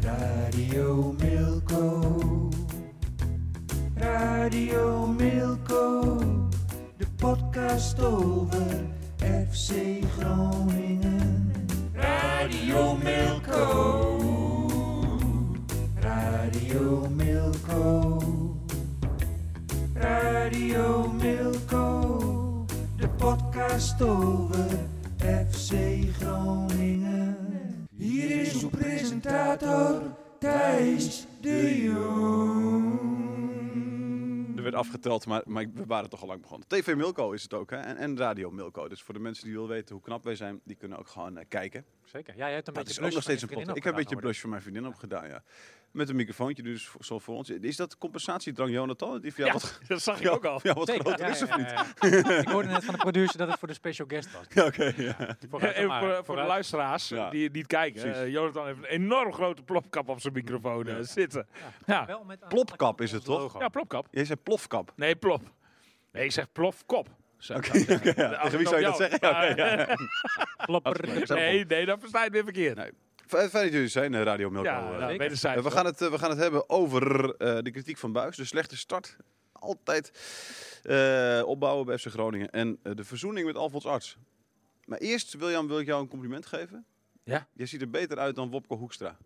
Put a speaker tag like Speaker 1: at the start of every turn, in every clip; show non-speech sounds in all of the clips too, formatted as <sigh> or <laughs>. Speaker 1: Radio Milko. Radio Milko. De podcast over FC Groningen. Radio Milko. Radio Milko. Radio Milko. De podcast over FC Groningen. Hier is uw presentator Thijs de Jong.
Speaker 2: Er werd afgeteld, maar, maar we waren toch al lang begonnen. TV Milko is het ook, hè? En, en Radio Milko. Dus voor de mensen die willen weten hoe knap wij zijn, die kunnen ook gewoon eh, kijken.
Speaker 3: Zeker. Ja, jij hebt een
Speaker 2: Dat
Speaker 3: beetje
Speaker 2: is ook nog steeds een podcast. Ik heb een beetje
Speaker 3: blus.
Speaker 2: blush voor mijn vriendin opgedaan, ja. Met een microfoontje, dus voor- zo voor ons. Is dat compensatiedrang, Jonathan? Die voor jou <laughs> wat,
Speaker 4: <laughs> Dat zag ik
Speaker 2: ja,
Speaker 4: ook al.
Speaker 2: Ja, wat
Speaker 3: Zeker,
Speaker 2: groter
Speaker 3: ja,
Speaker 2: is of
Speaker 3: ja,
Speaker 2: niet?
Speaker 3: ja, ja. <laughs> ik hoorde net van de producer dat het voor de special guest was.
Speaker 2: <laughs> Ja, oké. ja.
Speaker 3: <laughs>
Speaker 2: eh,
Speaker 3: Vooruit dan
Speaker 4: Even
Speaker 3: maar,
Speaker 4: voor, voor de
Speaker 3: vooruit.
Speaker 4: luisteraars
Speaker 2: Ja.
Speaker 4: die het niet kijken.
Speaker 2: Precies.
Speaker 4: Eh, Jonathan heeft een enorm grote plopkap op zijn microfoon eh, zitten. Ja. Ja.
Speaker 3: Wel met aan-
Speaker 2: Plopkap is het,
Speaker 3: ons
Speaker 2: toch?
Speaker 3: logo.
Speaker 4: plopkap.
Speaker 2: Jij zei plofkap.
Speaker 4: Nee, plop. Nee, ik zeg plofkop. Zou ik
Speaker 2: Oké,
Speaker 4: dat zeggen.
Speaker 2: ja.
Speaker 4: Als
Speaker 2: Tegen wie
Speaker 4: het
Speaker 2: zou je
Speaker 4: op
Speaker 2: dat
Speaker 4: jou-
Speaker 2: zeggen? Ja, oké, ja.
Speaker 4: <laughs>
Speaker 3: Plopper.
Speaker 2: Zo.
Speaker 4: Nee, nee, dat versta je het weer verkeerd.
Speaker 2: Nee. Fijn fijn dat jullie zijn, eh, Radio Milko.
Speaker 4: ja,
Speaker 2: Eh,
Speaker 4: nou,
Speaker 3: zeker.
Speaker 4: wederzijds.
Speaker 2: Eh, we, gaan het, eh, we gaan het hebben over eh, de kritiek van Buis. De slechte start. Altijd eh, opbouwen bij FC Groningen. En eh, de verzoening met Alfons Arts. Maar eerst, William, wil ik jou een compliment geven.
Speaker 4: Ja.
Speaker 2: Je ziet er beter uit dan Wopke Hoekstra.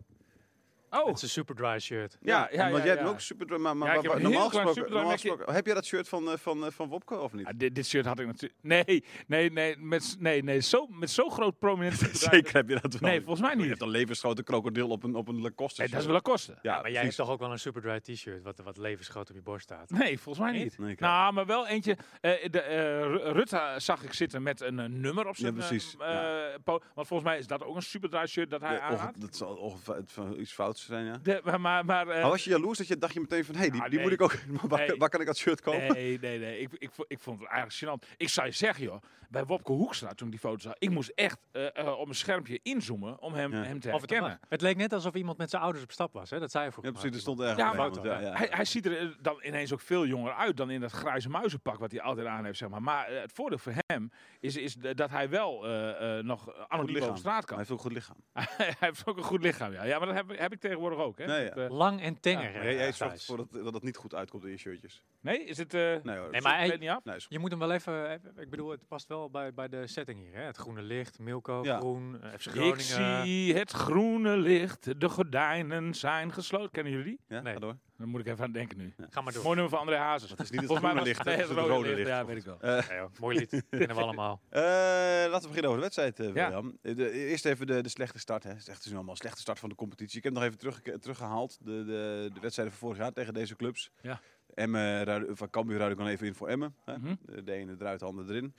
Speaker 4: Oh,
Speaker 3: Het is een super dry shirt.
Speaker 4: ja, ja,
Speaker 2: Want
Speaker 4: ja,
Speaker 2: jij hebt
Speaker 4: ja.
Speaker 2: ook super... Maar, maar,
Speaker 4: Ja, ik
Speaker 2: maar-
Speaker 4: heb een heel
Speaker 2: normaal,
Speaker 4: klein
Speaker 2: gesproken,
Speaker 4: superdry
Speaker 2: normaal
Speaker 4: mekje.
Speaker 2: gesproken- Heb jij dat shirt van, eh, van, eh, van Wopke of niet? <laughs>
Speaker 4: Ah, dit, dit shirt had ik natuurlijk... Nee, nee, nee, met, nee, nee zo, met zo groot prominent
Speaker 2: <laughs>
Speaker 4: bedrijf-
Speaker 2: heb je dat
Speaker 4: Nee, volgens mij
Speaker 2: Je
Speaker 4: niet.
Speaker 2: hebt een levensgrote krokodil op een, op een Lacoste
Speaker 4: Nee, dat is
Speaker 2: shirt.
Speaker 4: wel kosten.
Speaker 2: Ja,
Speaker 3: maar jij hebt
Speaker 2: precies.
Speaker 3: toch ook wel een super dry t-shirt wat, wat levensgroot op je borst staat.
Speaker 4: Nee, volgens mij
Speaker 3: Niet?
Speaker 4: niet.
Speaker 2: Nee, ik-
Speaker 4: Nou, maar wel eentje. eh, de, eh, Ru- Rutte zag ik zitten met een eh, nummer op zijn. eh,
Speaker 2: precies,
Speaker 4: eh,
Speaker 2: ja.
Speaker 4: po- want volgens mij is dat ook een superdry shirt dat hij
Speaker 2: Ja, of,
Speaker 4: aanhaalt.
Speaker 2: dat zal ongeveer van iets fouts zijn, ja.
Speaker 4: De, maar, maar, maar, eh,
Speaker 2: Maar was je jaloers dat je dacht je meteen van, hé, hey, die,
Speaker 4: Ah,
Speaker 2: die
Speaker 4: nee.
Speaker 2: moet ik ook... <laughs> Maar waar,
Speaker 4: Nee.
Speaker 2: waar kan ik dat shirt kopen?
Speaker 4: Nee, nee, nee. Ik, ik, vo- ik vond het eigenlijk gênant. Ik zou je zeggen, joh. Bij Wopke Hoekstra, toen ik die foto zag. Ik moest echt eh, eh, op een schermpje inzoomen om hem,
Speaker 2: Ja.
Speaker 4: hem te
Speaker 3: Of het,
Speaker 4: herkennen.
Speaker 3: het leek net alsof iemand met zijn ouders op stap was. Hè? Dat zei je
Speaker 2: Ja,
Speaker 3: vroeger.
Speaker 2: precies, er
Speaker 3: maar.
Speaker 2: stond ergens
Speaker 4: Ja,
Speaker 2: bij
Speaker 4: maar-
Speaker 2: iemand, ja, ja.
Speaker 4: Hij, hij ziet er eh, dan ineens ook veel jonger uit dan in dat grijze muizenpak wat hij altijd aan heeft. Zeg maar. maar eh, het voordeel voor hem is, is d- dat hij wel eh, eh, nog anoniem
Speaker 2: lichaam.
Speaker 4: op straat
Speaker 2: Hij
Speaker 4: kan.
Speaker 2: heeft ook een goed lichaam.
Speaker 4: <laughs> hij heeft ook een goed lichaam, ja. Ja, maar dat heb, heb ik tegenwoordig ook, hè?
Speaker 2: Nee,
Speaker 4: Dat,
Speaker 2: ja.
Speaker 4: eh,
Speaker 3: Lang en tenger.
Speaker 4: Ja,
Speaker 3: hè,
Speaker 2: Maar jij, jij
Speaker 3: Thijs.
Speaker 2: zorgt ervoor dat, dat het niet goed uitkomt in je shirtjes.
Speaker 4: nee, is het... eh,
Speaker 2: Nee hoor.
Speaker 3: Nee,
Speaker 2: dat
Speaker 3: maar
Speaker 4: ik
Speaker 3: hey,
Speaker 4: weet niet af.
Speaker 2: is- nee, is-
Speaker 3: je moet hem wel even... eh, Ik bedoel, het past wel bij, bij de setting hier. Hè? Het groene licht, Milko,
Speaker 2: Ja.
Speaker 3: groen, eh, FC
Speaker 4: Ik
Speaker 3: Groningen.
Speaker 4: zie het groene licht, de gordijnen zijn gesloten. Kennen jullie die?
Speaker 2: ja,
Speaker 3: nee.
Speaker 2: ga door.
Speaker 4: Dan moet ik even aan denken nu.
Speaker 3: Ga maar door.
Speaker 4: Mooi nummer van André Hazes.
Speaker 2: Dat is niet het
Speaker 4: Volgens mij
Speaker 2: groene
Speaker 4: was
Speaker 2: licht,
Speaker 4: nee,
Speaker 2: dat is het rode licht.
Speaker 4: Ja, weet ik wel.
Speaker 3: Ja, joh, mooi lied.
Speaker 2: <laughs>
Speaker 3: Kennen we allemaal.
Speaker 2: Eh, laten we beginnen over de wedstrijd, eh,
Speaker 4: Ja.
Speaker 2: William. Eh, de- eerst even de, de slechte start. Hè. Het is echt- het is nu allemaal een slechte start van de competitie. Ik heb nog even terug, eh, teruggehaald. De, de, de wedstrijden van vorig jaar tegen deze clubs.
Speaker 4: Ja.
Speaker 2: Emmen, Ruiden- van Cambuur ruid ik dan even in voor Emmen. Hè.
Speaker 4: Mhm.
Speaker 2: De ene eruit, de andere erin.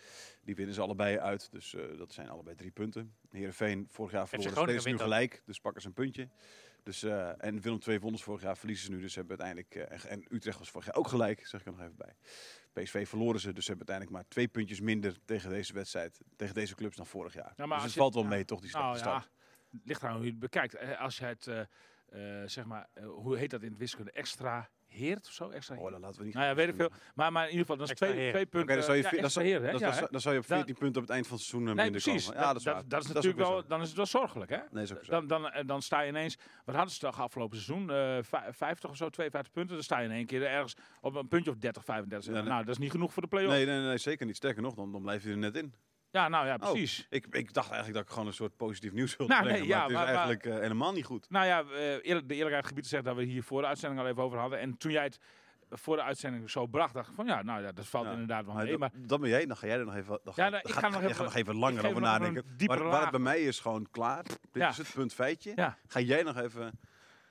Speaker 2: Die winnen ze allebei uit. Dus eh, dat zijn allebei drie punten. Heerenveen vorig jaar verloren
Speaker 3: Groningen
Speaker 2: steeds nu
Speaker 3: wint ook.
Speaker 2: gelijk. Dus pakken ze een puntje. Dus, eh, en Willem II wonnen ze vorig jaar, verliezen ze nu. Dus ze hebben uiteindelijk... eh, en en Utrecht was vorig jaar ook gelijk, zeg ik er nog even bij. PSV verloren ze, dus ze hebben uiteindelijk maar twee puntjes minder tegen deze wedstrijd, tegen deze clubs dan vorig jaar.
Speaker 4: maar
Speaker 2: dus
Speaker 4: als
Speaker 2: het
Speaker 4: je-
Speaker 2: valt wel
Speaker 4: ja.
Speaker 2: mee, toch, die slechte
Speaker 4: Nou ja,
Speaker 2: start.
Speaker 4: ligt aan hoe je het bekijkt. Eh, Als je het, eh, eh, zeg maar, eh, hoe heet dat in het wiskunde? Extra heert of zo? Extra
Speaker 2: Oh, dan laten we niet.
Speaker 4: Nou ja, weet ik veel. Maar, maar in ieder geval, dat is
Speaker 3: Extra
Speaker 4: twee,
Speaker 3: heren.
Speaker 4: twee punten.
Speaker 2: Oké, dan zou je,
Speaker 4: ja,
Speaker 2: vi- dan
Speaker 4: extra
Speaker 2: zou-
Speaker 4: heren, hè?
Speaker 2: dan-
Speaker 4: Ja,
Speaker 2: dan
Speaker 4: hè?
Speaker 2: zou- dan zou je op 14 punten op het eind van het seizoen eh,
Speaker 4: Nee,
Speaker 2: minder
Speaker 4: precies.
Speaker 2: komen. Ja, dat is, waar.
Speaker 4: dat, dat is
Speaker 2: ook
Speaker 4: natuurlijk
Speaker 2: weer
Speaker 4: wel, dan is het wel zorgelijk, hè?
Speaker 2: zo. Nee, is ook weer zo.
Speaker 4: Dan, dan, eh, dan sta je ineens, wat hadden ze toch afgelopen seizoen? Eh, vij- 50 of zo, 52 punten. Dan sta je in één keer ergens op een puntje of 30, 35.
Speaker 2: Ja, nee.
Speaker 4: nou, dat is niet genoeg voor de play-off.
Speaker 2: Nee, Oh. nee, nee, zeker niet. Sterker nog, dan, dan blijf je er net in.
Speaker 4: Ja, nou ja, precies.
Speaker 2: Ik, ik dacht eigenlijk dat ik gewoon een soort positief nieuws wilde
Speaker 4: Nou,
Speaker 2: brengen,
Speaker 4: nee,
Speaker 2: maar
Speaker 4: ja,
Speaker 2: het is
Speaker 4: maar- maar-
Speaker 2: eigenlijk eh, helemaal niet goed.
Speaker 4: Nou ja, eh, eerlijk, de eerlijkheid gebied zegt dat we hier voor de uitzending al even over hadden. En toen jij het voor de uitzending zo bracht, dacht ik van ja, nou ja, dat valt
Speaker 2: Ja,
Speaker 4: inderdaad wel
Speaker 2: Maar
Speaker 4: mee.
Speaker 2: dat,
Speaker 4: Maar
Speaker 2: dat ben jij, dan ga jij er nog even, dan
Speaker 4: Ja,
Speaker 2: ga,
Speaker 4: nou,
Speaker 2: dan
Speaker 4: ik
Speaker 2: ga-
Speaker 4: ga nog
Speaker 2: jij
Speaker 4: even-
Speaker 2: gaat nog even
Speaker 4: ik
Speaker 2: langer
Speaker 4: geef
Speaker 2: over
Speaker 4: nog even een
Speaker 2: nadenken.
Speaker 4: diepere
Speaker 2: Waar, waar het
Speaker 4: laag.
Speaker 2: bij mij is gewoon klaar. Dit
Speaker 4: Ja.
Speaker 2: is het punt feitje.
Speaker 4: Ja.
Speaker 2: Ga jij nog even...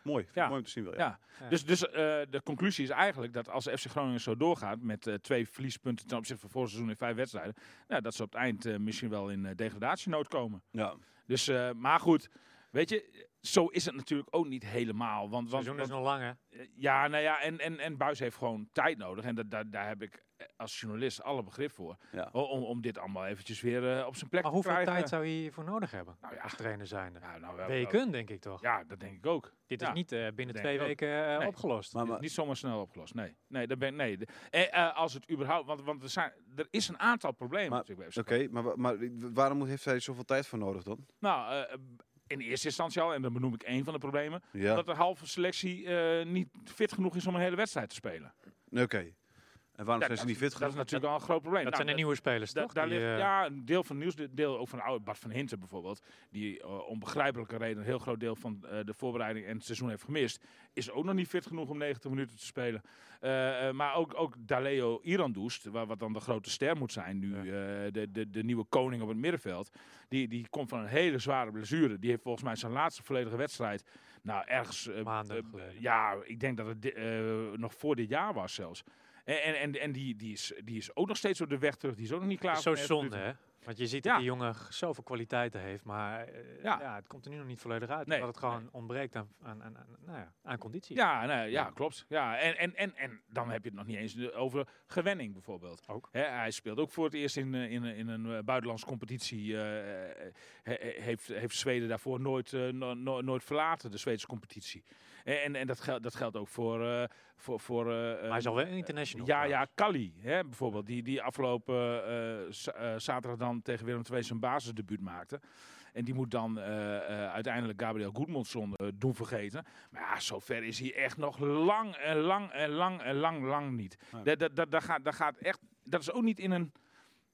Speaker 2: Mooi,
Speaker 4: Ja.
Speaker 2: mooi om te zien wil je.
Speaker 4: Ja. Dus, dus eh, de conclusie is eigenlijk dat als FC Groningen zo doorgaat met eh, twee verliespunten ten opzichte van vorig seizoen in vijf wedstrijden, ja, dat ze op het eind eh, misschien wel in eh, degradatienood komen.
Speaker 2: Ja.
Speaker 4: Dus, eh, maar goed, Weet je, zo is het natuurlijk ook niet helemaal. Want,
Speaker 3: Het
Speaker 4: want,
Speaker 3: seizoen is
Speaker 4: want-
Speaker 3: nog lang, hè?
Speaker 4: ja, nou ja, en, en, en Buis heeft gewoon tijd nodig. En dat, daar, daar heb ik eh, als journalist alle begrip voor.
Speaker 2: Ja.
Speaker 4: O- Om, om dit allemaal eventjes weer eh, op zijn plek
Speaker 3: Maar
Speaker 4: te
Speaker 3: hoeveel
Speaker 4: krijgen.
Speaker 3: tijd zou je hiervoor nodig hebben?
Speaker 4: Nou ja.
Speaker 3: Als trainer zijnde.
Speaker 4: Ja, nou, wel-
Speaker 3: Weken, denk ik toch?
Speaker 4: Ja, dat denk ik ook.
Speaker 3: Dit
Speaker 4: Ja.
Speaker 3: is niet eh, binnen
Speaker 4: Denk
Speaker 3: twee
Speaker 4: ik ook.
Speaker 3: weken eh,
Speaker 4: Nee.
Speaker 3: opgelost.
Speaker 2: Maar,
Speaker 4: Dit is
Speaker 2: maar,
Speaker 4: niet zomaar snel opgelost. Nee, nee, daar ben, nee. De- eh, eh, als het überhaupt, want, want er, zijn, er is een aantal problemen
Speaker 2: Maar-
Speaker 4: natuurlijk bij FC
Speaker 2: Oké, maar, wa- maar waarom moet- heeft hij zoveel tijd voor nodig dan?
Speaker 4: Nou, eh, in eerste instantie al, en dan benoem ik één van de problemen,
Speaker 2: Ja,
Speaker 4: dat de halve selectie eh, niet fit genoeg is om een hele wedstrijd te spelen.
Speaker 2: oké. En waarom
Speaker 4: Ja,
Speaker 2: zijn ze niet fit
Speaker 4: Dat is
Speaker 2: genoeg?
Speaker 4: natuurlijk al een groot probleem.
Speaker 3: dat
Speaker 4: Nou,
Speaker 3: zijn de nieuwe spelers,
Speaker 4: da-
Speaker 3: toch?
Speaker 4: daar
Speaker 3: Die,
Speaker 4: ligt,
Speaker 3: eh,
Speaker 4: ja, een deel van nieuws, deel ook van de oude Bart van Hinten bijvoorbeeld, die eh, om begrijpelijke reden een heel groot deel van eh, de voorbereiding en het seizoen heeft gemist, is ook nog niet fit genoeg om 90 minuten te spelen. Eh, eh, maar ook, ook Daleo Irandoest, wa- wat dan de grote ster moet zijn nu, eh, de, de, de nieuwe koning op het middenveld, die, die komt van een hele zware blessure. Die heeft volgens mij zijn laatste volledige wedstrijd, nou ergens... eh,
Speaker 3: Maanden
Speaker 4: eh,
Speaker 3: geleden.
Speaker 4: Ja, ik denk dat het di- eh, nog voor dit jaar was zelfs. En, en- en, en die, die, is, die is ook nog steeds op de weg terug. Die is ook nog niet klaar.
Speaker 3: Het is zo
Speaker 4: voor de
Speaker 3: zonde,
Speaker 4: Eredivisie.
Speaker 3: hè? Want je ziet dat
Speaker 4: Ja.
Speaker 3: die jongen g- zoveel kwaliteiten heeft, maar eh,
Speaker 4: Ja.
Speaker 3: ja. het komt er nu nog niet volledig uit.
Speaker 4: Nee,
Speaker 3: omdat het gewoon ontbreekt aan, aan, aan, aan- nou ja, aan conditie.
Speaker 4: Ja, nee, ja, klopt. Ja, en, en, en, en dan heb je het nog niet eens over gewenning bijvoorbeeld.
Speaker 3: Ook.
Speaker 4: Hè, hij speelt ook voor het eerst in, eh, in, in een eh, buitenlandse competitie. eh, eh, he- he- heeft, heeft Zweden daarvoor nooit, eh, no- no- nooit verlaten, de Zweedse competitie. En, en dat, geldt dat geldt ook voor... eh, voor, voor eh,
Speaker 3: maar hij is al wel international.
Speaker 4: Ja, ja,
Speaker 3: trouwens.
Speaker 4: Kali hè, bijvoorbeeld, die, die afgelopen eh, eh, za- eh, zaterdag dan tegen Willem II zijn basisdebuut maakte. En die moet dan eh, eh, uiteindelijk Gabriel Goedmondsson eh, doen vergeten. Maar ja, zover is hij echt nog lang en lang en lang en lang, lang niet.
Speaker 2: Nee.
Speaker 4: Dat, dat, dat, dat gaat, dat gaat echt, dat is ook niet in een...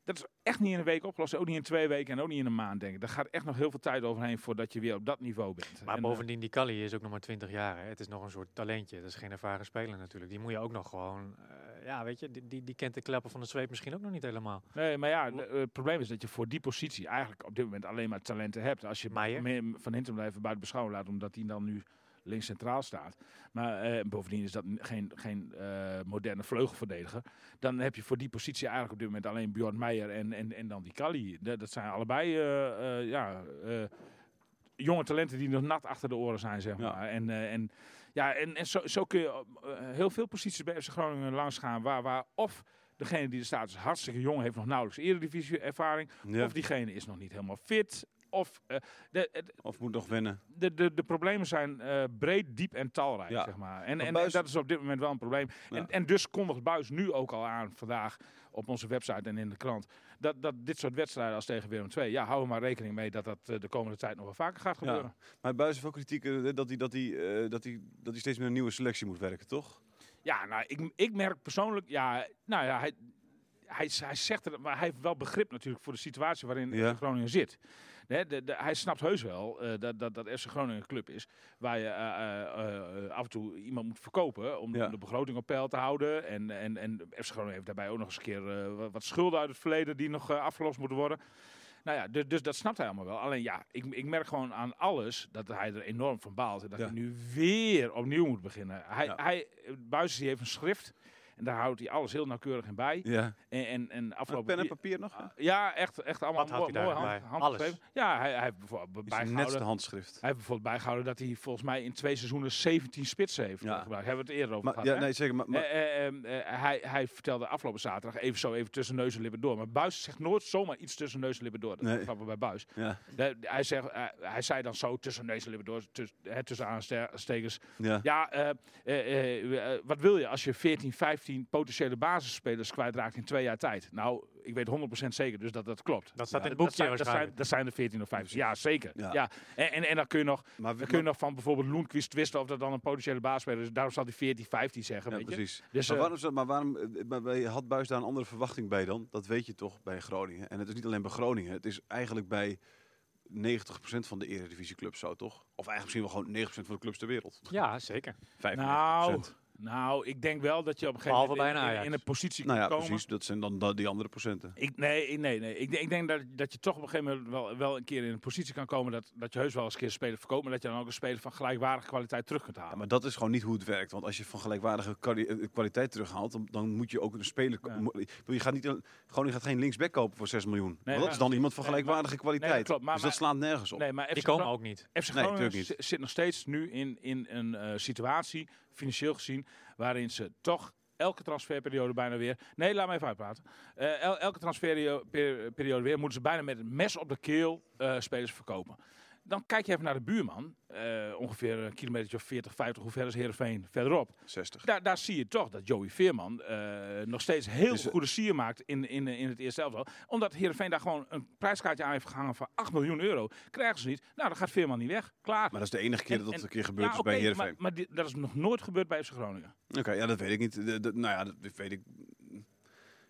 Speaker 4: Dat is echt niet in een week opgelost, ook niet in twee weken en ook niet in een maand, denk ik. Daar gaat echt nog heel veel tijd overheen voordat je weer op dat niveau bent.
Speaker 3: Maar
Speaker 4: En, eh,
Speaker 3: bovendien, die Kali is ook nog maar 20 jaar. Hè. Het is nog een soort talentje. Dat is geen ervaren speler natuurlijk. Die moet je ook nog gewoon... eh, ja, weet je, die, die, die kent de klappen van de zweep misschien ook nog niet helemaal.
Speaker 4: Nee, maar ja, de- eh, het probleem is dat je voor die positie eigenlijk op dit moment alleen maar talenten hebt. Als je
Speaker 3: Meijer?
Speaker 4: me- Van Hintem blijven buiten beschouwing laat, omdat hij dan nu links centraal staat. Maar eh, bovendien is dat n- geen, geen eh, moderne vleugelverdediger. Dan heb je voor die positie eigenlijk op dit moment alleen Bjorn Meijer en, en, en dan die Kali. Da- Dat, zijn allebei eh, eh, ja, eh, jonge talenten die nog nat achter de oren zijn, zeg
Speaker 2: Ja.
Speaker 4: maar. En, eh, en, ja, en, en zo, zo kun je op, eh, heel veel posities bij FC Groningen langs gaan waar, waar of degene die er staat is hartstikke jong, heeft nog nauwelijks eredivisie ervaring,
Speaker 2: Ja.
Speaker 4: of diegene is nog niet helemaal fit. Of eh, de, het-
Speaker 2: Of moet nog wennen?
Speaker 4: de, de, de problemen zijn eh, breed, diep en talrijk,
Speaker 2: Ja.
Speaker 4: zeg maar. En,
Speaker 2: Maar
Speaker 4: en,
Speaker 2: Buijs-
Speaker 4: dat is op dit moment wel een probleem.
Speaker 2: Ja.
Speaker 4: En, en dus kondigt Buis nu ook al aan vandaag op onze website en in de krant... dat, dat dit soort wedstrijden als tegen Willem II... ja, hou er maar rekening mee dat dat eh, de komende tijd nog wel vaker gaat gebeuren. Ja,
Speaker 2: Maar Buijs heeft ook kritiek eh, dat hij, dat, hij, eh, dat, hij, dat hij steeds met een nieuwe selectie moet werken, toch?
Speaker 4: nou, ik, ik merk persoonlijk... Ja, nou ja, hij, hij, z- hij zegt het, maar hij heeft wel begrip natuurlijk voor de situatie waarin
Speaker 2: Ja.
Speaker 4: FC Groningen zit. Hè, de, de- hij snapt heus wel eh, dat, dat, dat FC Groningen een club is waar je eh, eh, eh, af en toe iemand moet verkopen om
Speaker 2: Ja.
Speaker 4: om de begroting op peil te houden. En, en, en FC Groningen heeft daarbij ook nog eens een keer eh, wat- wat schulden uit het verleden die nog eh, afgelost moeten worden. Nou ja, dus, dus dat snapt hij allemaal wel. Alleen ja, ik, ik merk gewoon aan alles dat hij er enorm van baalt. En dat
Speaker 2: Ja.
Speaker 4: hij nu weer opnieuw moet beginnen. Hij,
Speaker 2: Ja.
Speaker 4: hij, Buijs, die heeft een schrift en daar houdt hij alles heel nauwkeurig in bij.
Speaker 2: Ja.
Speaker 4: En, en, en
Speaker 2: Met
Speaker 4: afgelopen...
Speaker 2: pen en
Speaker 4: die-
Speaker 2: papier nog? hè?
Speaker 4: ja, echt, echt allemaal
Speaker 3: Wat houdt hij
Speaker 4: mooi
Speaker 3: daar
Speaker 4: hand-
Speaker 3: bij?
Speaker 4: handgeschreven.
Speaker 3: Alles?
Speaker 4: Ja, hij, hij heeft bijvoorbeeld
Speaker 2: Is het netste
Speaker 4: bijgehouden...
Speaker 2: handschrift.
Speaker 4: Hij heeft bijvoorbeeld bijgehouden dat hij volgens mij in twee seizoenen 17 spitsen heeft
Speaker 2: Ja.
Speaker 4: eh, gebruikt. Hebben we het eerder over
Speaker 2: Maar,
Speaker 4: gehad,
Speaker 2: ja,
Speaker 4: hè?
Speaker 2: nee, zeker. Maar, maar,
Speaker 4: Eh, eh, ehm, eh, hij, hij vertelde afgelopen zaterdag, even zo even tussen neus en lippen door. Maar Buis zegt nooit zomaar iets tussen neus en lippen door. Dat
Speaker 2: Nee.
Speaker 4: nee. grappig bij Buis.
Speaker 2: ja,
Speaker 4: hij, zegt, eh, hij zei dan zo tussen neus en lippen door, tussen, hè, tussen aanstekers.
Speaker 2: ja.
Speaker 4: Ja, eh, eh, eh, eh, wat wil je als je 14, 15 potentiële basisspelers kwijtraakt in twee jaar tijd? Nou, ik weet 100% zeker dus dat dat klopt.
Speaker 3: Dat staat
Speaker 4: Ja,
Speaker 3: in het boekje
Speaker 4: zijn- dat, zijn,
Speaker 3: waarschijnlijk.
Speaker 4: dat zijn de 14 of 15. Ja, zeker.
Speaker 2: Ja.
Speaker 4: Ja. En, en, en dan kun je nog,
Speaker 2: Maar,
Speaker 4: dan
Speaker 2: we
Speaker 4: kun je nog van bijvoorbeeld Loenquist twisten of dat dan een potentiële basisspeler is. Daarom zal hij 14, 15 zeggen.
Speaker 2: Ja,
Speaker 4: weet je?
Speaker 2: precies.
Speaker 4: Dus,
Speaker 2: maar
Speaker 4: eh,
Speaker 2: waarom, zou- maar waarom eh, maar wij- had Buis daar een andere verwachting bij dan? Dat weet je toch bij Groningen. En het is niet alleen bij Groningen. Het is eigenlijk bij 90% van de eredivisieclubs zo, toch? Of eigenlijk misschien wel gewoon 90% van de clubs ter wereld.
Speaker 3: Ja, zeker.
Speaker 2: 95%.
Speaker 4: Nou, Nou, ik denk wel dat je op een gegeven
Speaker 3: Behalve
Speaker 4: moment
Speaker 3: bij
Speaker 4: in,
Speaker 3: een
Speaker 4: in- in
Speaker 3: Ajax.
Speaker 4: een positie
Speaker 2: Nou ja,
Speaker 4: kan komen.
Speaker 2: precies. Dat zijn dan da- die andere procenten.
Speaker 4: Ik, nee, nee, nee. Ik, denk- ik denk dat, dat je toch op een gegeven moment wel, wel een keer in een positie kan komen dat, dat je heus wel eens een keer een speler verkoopt, maar dat je dan ook een speler van gelijkwaardige kwaliteit terug kunt halen.
Speaker 2: Ja, maar dat is gewoon niet hoe het werkt. Want als je van gelijkwaardige kwali- eh, kwaliteit terughaalt, dan, dan moet je ook een speler... ko-
Speaker 4: Ja.
Speaker 2: mo- Ik bedoel, Je gaat, niet, een- gewoon, je gaat geen linksback kopen voor 6 miljoen. Want dat
Speaker 4: maar-
Speaker 2: is dan iemand van
Speaker 4: nee, maar-
Speaker 2: gelijkwaardige kwaliteit.
Speaker 4: nee, dat klopt, maar-
Speaker 2: dus
Speaker 4: maar-
Speaker 2: dat slaat nergens op.
Speaker 4: nee, maar
Speaker 3: Die
Speaker 4: FC
Speaker 3: komen
Speaker 4: Gro-
Speaker 3: ook niet.
Speaker 4: FC
Speaker 2: Nee,
Speaker 4: Groningen
Speaker 2: natuurlijk niet.
Speaker 4: zi- zit nog steeds nu in, in een eh, situatie, financieel gezien, waarin ze toch elke transferperiode bijna weer... Nee, laat me even uitpraten. Eh, el- elke transferperiode weer moeten ze bijna met een mes op de keel eh, spelers verkopen. Dan kijk je even naar de buurman, eh, ongeveer een kilometer of 40, 50, hoe ver is Heerenveen verderop.
Speaker 2: 60.
Speaker 4: Daar, daar zie je toch dat Joey Veerman eh, nog steeds heel
Speaker 2: Dus, eh,
Speaker 4: goede sier maakt in, in, in het eerste elftal. Omdat Heerenveen daar gewoon een prijskaartje aan heeft gehangen van 8 miljoen euro. Krijgen ze niet. Nou, dan gaat Veerman niet weg. Klaar.
Speaker 2: Maar dat is de enige keer dat
Speaker 4: En-
Speaker 2: dat
Speaker 4: en-
Speaker 2: een keer gebeurd
Speaker 4: Ja,
Speaker 2: is bij
Speaker 4: oké,
Speaker 2: Heerenveen.
Speaker 4: Maar, maar dit- dat is nog nooit gebeurd bij FC Groningen.
Speaker 2: Oké, ja, dat weet ik niet. De- de- nou ja, dat dat weet ik.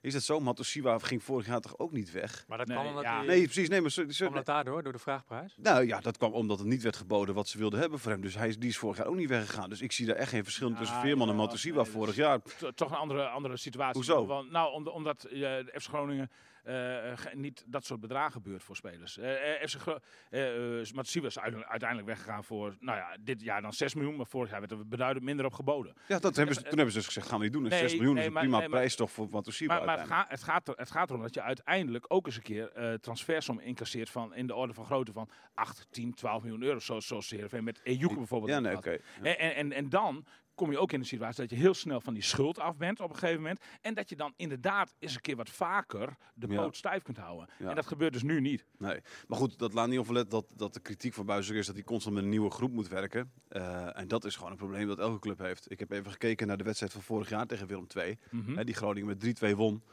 Speaker 2: Is dat zo? Matosiwa ging vorig jaar toch ook niet weg?
Speaker 3: Maar dat
Speaker 4: Nee,
Speaker 3: kwam omdat,
Speaker 4: ja.
Speaker 3: die-
Speaker 2: Nee, precies. Nee, maar zo- zo-
Speaker 3: kwam dat daardoor, door de vraagprijs.
Speaker 2: nou ja, dat kwam omdat het niet werd geboden wat ze wilden hebben voor hem. Dus hij is, die is vorig jaar ook niet weggegaan. Dus ik zie daar echt geen verschil tussen
Speaker 4: Ah,
Speaker 2: Veerman en
Speaker 4: jawel.
Speaker 2: Matosiwa
Speaker 4: Nee, dus- dat
Speaker 2: vorig
Speaker 4: is-
Speaker 2: jaar.
Speaker 4: To- toch een andere, andere situatie.
Speaker 2: Hoezo?
Speaker 4: Want, nou, omdat, omdat eh, de FC Groningen eh, ge- niet dat soort bedragen beurt voor spelers. Eh, eh, FC Gro- eh, eh, Matsuba is uite- uiteindelijk weggegaan voor, nou ja, dit jaar dan 6 miljoen. Maar vorig jaar werd er beduidend minder op geboden.
Speaker 2: Ja, dat hebben ze, toen hebben ze dus gezegd, gaan we niet doen. En
Speaker 4: eh, Nee,
Speaker 2: 6 miljoen
Speaker 4: nee,
Speaker 2: is een
Speaker 4: maar-
Speaker 2: prima
Speaker 4: nee, maar-
Speaker 2: prijs toch voor Matosiwa
Speaker 4: Maar, maar het,
Speaker 2: uiteindelijk.
Speaker 4: ga- het, gaat er, het gaat erom dat je uiteindelijk ook eens een keer eh transfersom incasseert van in de orde van grootte van 8, 10, 12 miljoen euro. Zoals, zoals Heerenveen met Ejuke bijvoorbeeld.
Speaker 2: Ja,
Speaker 4: heeft
Speaker 2: nee,
Speaker 4: gehad.
Speaker 2: oké.
Speaker 4: En, en, en, en dan kom je ook in de situatie dat je heel snel van die schuld af bent op een gegeven moment. En dat je dan inderdaad eens een keer wat vaker de
Speaker 2: Ja.
Speaker 4: poot stijf kunt houden.
Speaker 2: Ja.
Speaker 4: En dat gebeurt dus nu niet.
Speaker 2: Nee. Maar goed, dat laat niet onverlet dat, dat de kritiek van Buizer is dat hij constant met een nieuwe groep moet werken. Eh, en dat is gewoon een probleem dat elke club heeft. Ik heb even gekeken naar de wedstrijd van vorig jaar tegen Willem II.
Speaker 4: Mhm.
Speaker 2: Hè, die Groningen met 3-2 won.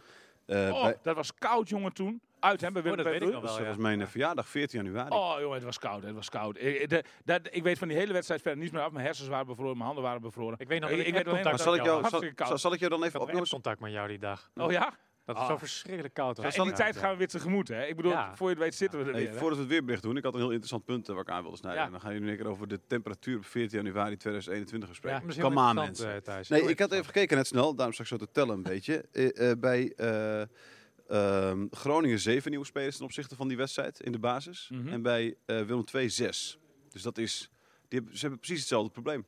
Speaker 2: Eh,
Speaker 4: oh,
Speaker 2: bij-
Speaker 4: dat was koud, jongen, toen. Uit hem bij Willem
Speaker 3: Oh, dat weet
Speaker 4: II.
Speaker 3: ik nog
Speaker 2: Dus
Speaker 3: wel,
Speaker 2: dat
Speaker 3: ja.
Speaker 2: was mijn eh, verjaardag, 14 januari.
Speaker 4: Oh jongen, het was koud, het was koud. Ik, ik- de- dat, ik weet van die hele wedstrijd verder niets meer af. Mijn hersens waren bevroren, mijn handen waren bevroren.
Speaker 3: Ik weet nog dat
Speaker 4: Ik-
Speaker 3: ik,
Speaker 4: ik weet alleen
Speaker 2: maar
Speaker 3: contact
Speaker 2: zal
Speaker 4: dat
Speaker 2: ik,
Speaker 4: jou
Speaker 2: jou,
Speaker 4: was.
Speaker 2: zal,
Speaker 4: Hartstikke koud.
Speaker 2: zal- zal ik jou dan even
Speaker 3: Ik had
Speaker 2: opnoemen?
Speaker 3: contact met jou die dag.
Speaker 4: Oh ja?
Speaker 3: Dat het
Speaker 4: Ah.
Speaker 3: zo verschrikkelijk koud was.
Speaker 4: Ja, en die tijd gaan we weer tegemoet, hè? Ik bedoel,
Speaker 3: Ja.
Speaker 4: voor je het weet zitten we er
Speaker 2: Nee,
Speaker 4: weer. hè?
Speaker 2: voordat we het weerbericht doen, ik had een heel interessant punt eh, waar ik aan wilde snijden.
Speaker 4: Ja.
Speaker 2: En dan gaan jullie een keer over de temperatuur op 14 januari 2021
Speaker 3: Ja,
Speaker 2: bespreken.
Speaker 3: misschien
Speaker 2: Kom
Speaker 3: wel
Speaker 2: aan,
Speaker 3: interessant,
Speaker 2: mensen.
Speaker 3: eh, Thijs.
Speaker 2: Nee,
Speaker 3: Heel
Speaker 2: ik had even
Speaker 3: interessant.
Speaker 2: gekeken net snel, daarom straks zo te tellen een beetje. Eh, eh, bij eh, ehm, Groningen 7 nieuwe spelers ten opzichte van die wedstrijd in de basis.
Speaker 4: Mhm.
Speaker 2: En bij eh, Willem 2 6. Dus dat is, die hebben, ze hebben precies hetzelfde probleem.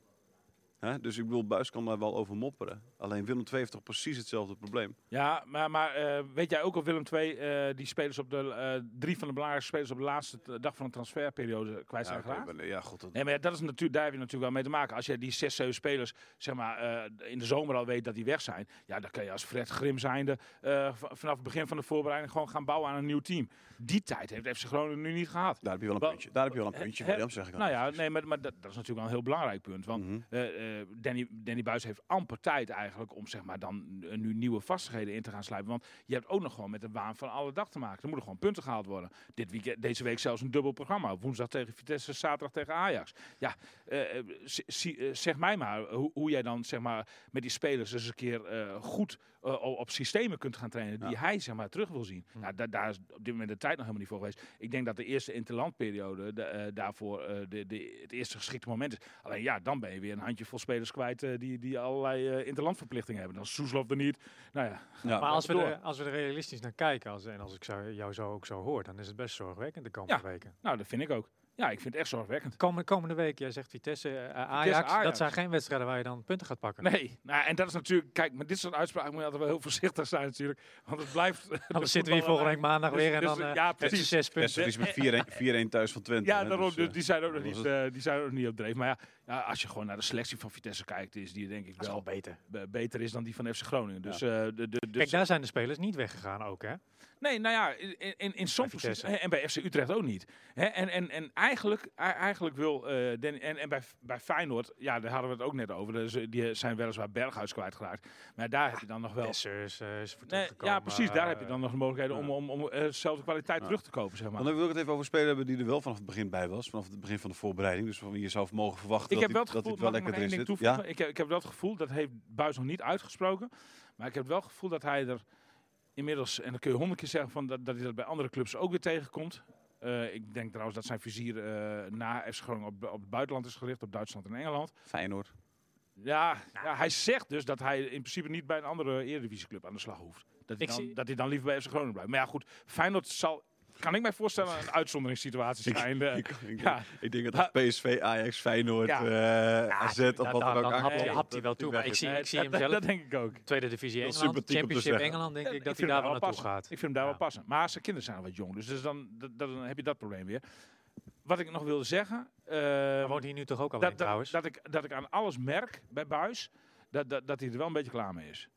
Speaker 2: Hè? Dus ik bedoel, Buis kan daar wel over mopperen. Alleen Willem 2 heeft toch precies hetzelfde probleem.
Speaker 4: Ja, maar, maar eh, weet jij ook of Willem II eh, die spelers op de, eh, drie van de belangrijkste spelers op de laatste t- dag van de transferperiode kwijt zijn
Speaker 2: ja, oké,
Speaker 4: geraakt?
Speaker 2: maar nee, ja, goed, dat,
Speaker 4: Nee, maar ja, dat is natuurlijk, daar heb je natuurlijk wel mee te maken. Als je die zes, zeven spelers zeg maar, eh, in de zomer al weet dat die weg zijn. Ja, dan kan je als Fred Grim zijnde eh, v- vanaf het begin van de voorbereiding gewoon gaan bouwen aan een nieuw team. Die tijd heeft FC Groningen nu niet gehad.
Speaker 2: Daar heb je wel een
Speaker 4: Wel-
Speaker 2: puntje. Daar heb je wel een
Speaker 4: Hè-
Speaker 2: puntje,
Speaker 4: hè-
Speaker 2: William, zeg ik dan.
Speaker 4: Nou ja, nee, maar, maar dat, dat is natuurlijk wel een heel belangrijk punt. Want
Speaker 2: Mhm.
Speaker 4: eh, eh, Danny, Danny Buis heeft amper tijd eigenlijk om zeg maar dan eh, nu nieuwe vastigheden in te gaan sluipen. Want je hebt ook nog gewoon met de waan van alle dag te maken. Er moeten gewoon punten gehaald worden. Dit weekend, deze week zelfs een dubbel programma. Woensdag tegen Vitesse, zaterdag tegen Ajax. Ja, eh, eh, z- zie- eh, zeg mij maar hoe, hoe jij dan zeg maar met die spelers eens een keer eh, goed eh, o- op systemen kunt gaan trainen die hij zeg maar terug wil zien.
Speaker 2: Mhm.
Speaker 4: Nou, da- daar is op dit moment de tijd nog helemaal niet voor geweest. Ik denk dat de eerste interlandperiode da- eh, daarvoor eh, de, de, het eerste geschikte moment is. Alleen ja, dan ben je weer een handjevol spelers kwijt eh, die, die allerlei eh interlandverplichtingen hebben. Dan is Soeslof er niet. Nou ja,
Speaker 2: Ja.
Speaker 3: Maar als we,
Speaker 4: door.
Speaker 3: er, als we er realistisch naar kijken, als, en als ik zo, jou zo ook zo hoor, dan is het best zorgwekkend de komende
Speaker 4: Ja.
Speaker 3: weken.
Speaker 4: nou dat vind ik ook. Ja, ik vind het echt zorgwekkend.
Speaker 3: Komende, komende week, jij zegt Vitesse, eh, Ajax,
Speaker 4: Ajax.
Speaker 3: dat zijn geen wedstrijden waar je dan punten gaat pakken.
Speaker 4: Nee, nou, en dat is natuurlijk, kijk, met dit soort uitspraken moet je altijd wel heel voorzichtig zijn natuurlijk. Want het blijft... <laughs>
Speaker 3: Anders zitten we hier volgende week maandag
Speaker 4: Dus-
Speaker 3: weer en
Speaker 4: dus,
Speaker 3: dan
Speaker 4: eh,
Speaker 3: eh,
Speaker 4: ja,
Speaker 3: heeft ze
Speaker 4: precies.
Speaker 3: zes punten.
Speaker 2: Best verlies met 4-1 4-1 thuis van Twente.
Speaker 4: Ja,
Speaker 2: hè,
Speaker 4: daarom,
Speaker 2: dus,
Speaker 4: dus
Speaker 2: eh,
Speaker 4: die, zijn ook
Speaker 2: dat
Speaker 4: nog niet,
Speaker 2: was
Speaker 4: eh, die zijn ook nog niet op dreef. Maar ja, ja, als je gewoon naar de selectie van Vitesse kijkt, is die denk ik
Speaker 3: Dat is wel
Speaker 4: wel
Speaker 3: beter.
Speaker 4: be- beter is dan die van FC Groningen. Dus, eh, de, de, dus
Speaker 3: Kijk, daar zijn de spelers niet weggegaan ook, hè?
Speaker 4: Nee, nou ja, in, in- in, in sommige
Speaker 3: Vitesse.
Speaker 4: posities- en bij FC Utrecht ook niet. Hè, en, en, en eigenlijk, ei- eigenlijk wil eh Den- en, en bij, bij Feyenoord, ja, daar hadden we het ook net over. Dus, eh, die zijn weliswaar Berghuis kwijtgeraakt. Maar daar heb je dan nog wel.
Speaker 3: Dessers eh, is voor
Speaker 4: Nee,
Speaker 3: teruggekomen,
Speaker 4: ja, precies. Daar
Speaker 3: eh,
Speaker 4: heb je dan nog de mogelijkheden om, om, om eh, dezelfde kwaliteit
Speaker 2: Ja.
Speaker 4: terug te kopen, zeg maar.
Speaker 2: Dan wil ik het even over spelen hebben die er wel vanaf het begin bij was. Vanaf het begin van de voorbereiding. Dus van wie je zou mogen verwachten
Speaker 4: Ik
Speaker 2: dat,
Speaker 4: heb wel het
Speaker 2: die- dat
Speaker 4: gevoel,
Speaker 2: hij wel
Speaker 4: mag ik
Speaker 2: lekker erin
Speaker 4: nog één ding
Speaker 2: zit.
Speaker 4: toevoegen? Ik, heb, ik heb wel het gevoel, dat heeft Buis nog niet uitgesproken. Maar ik heb wel het gevoel dat hij er inmiddels, en dan kun je honderd keer zeggen van dat, dat hij dat bij andere clubs ook weer tegenkomt. Eh, ik denk trouwens dat zijn vizier eh, na FC Groningen op, op het buitenland is gericht, op Duitsland en Engeland.
Speaker 2: Feyenoord.
Speaker 4: Ja, ja, hij zegt dus dat hij in principe niet bij een andere Eredivisieclub aan de slag hoeft. Dat hij,
Speaker 3: Ik
Speaker 4: dan,
Speaker 3: zie-
Speaker 4: dat hij dan liever bij FC Groningen blijft. Maar ja, goed, Feyenoord zal, kan ik mij
Speaker 3: <laughs>
Speaker 4: voorstellen, een uitzonderingssituatie zijn. eh. <laughs>
Speaker 2: Ik, ik,
Speaker 4: ja.
Speaker 2: ik denk dat als PSV, Ajax, Feyenoord,
Speaker 4: Ja.
Speaker 2: eh, AZ
Speaker 3: Dan,
Speaker 2: of wat dan ook
Speaker 3: dan hapt hij-
Speaker 2: aankomt,
Speaker 3: hapt hij
Speaker 2: dat
Speaker 3: wel toe. Maar
Speaker 2: weg
Speaker 3: ik
Speaker 2: is.
Speaker 3: zie,
Speaker 4: Nee,
Speaker 3: ik zie hem
Speaker 4: Eh, dat-
Speaker 3: zelf.
Speaker 4: Dat denk ik ook.
Speaker 3: Tweede divisie
Speaker 2: Heel
Speaker 3: Engeland,
Speaker 2: sympathiek om te
Speaker 3: Championship
Speaker 2: zeggen.
Speaker 3: Engeland, denk ik, dat
Speaker 4: vind
Speaker 3: hij daar
Speaker 4: hem
Speaker 3: wel naartoe
Speaker 4: passen.
Speaker 3: gaat.
Speaker 4: Ik vind hem daar
Speaker 3: Ja.
Speaker 4: wel passen. Maar zijn kinderen zijn al wat jong, dus, dus dan, dat- dan heb je dat probleem weer. Wat ik nog wilde zeggen... eh,
Speaker 3: Hij woont hier nu toch ook al
Speaker 4: dat, dat,
Speaker 3: trouwens?
Speaker 4: dat, ik, dat ik aan alles merk bij Buis dat, dat, dat hij er wel een beetje klaar mee is.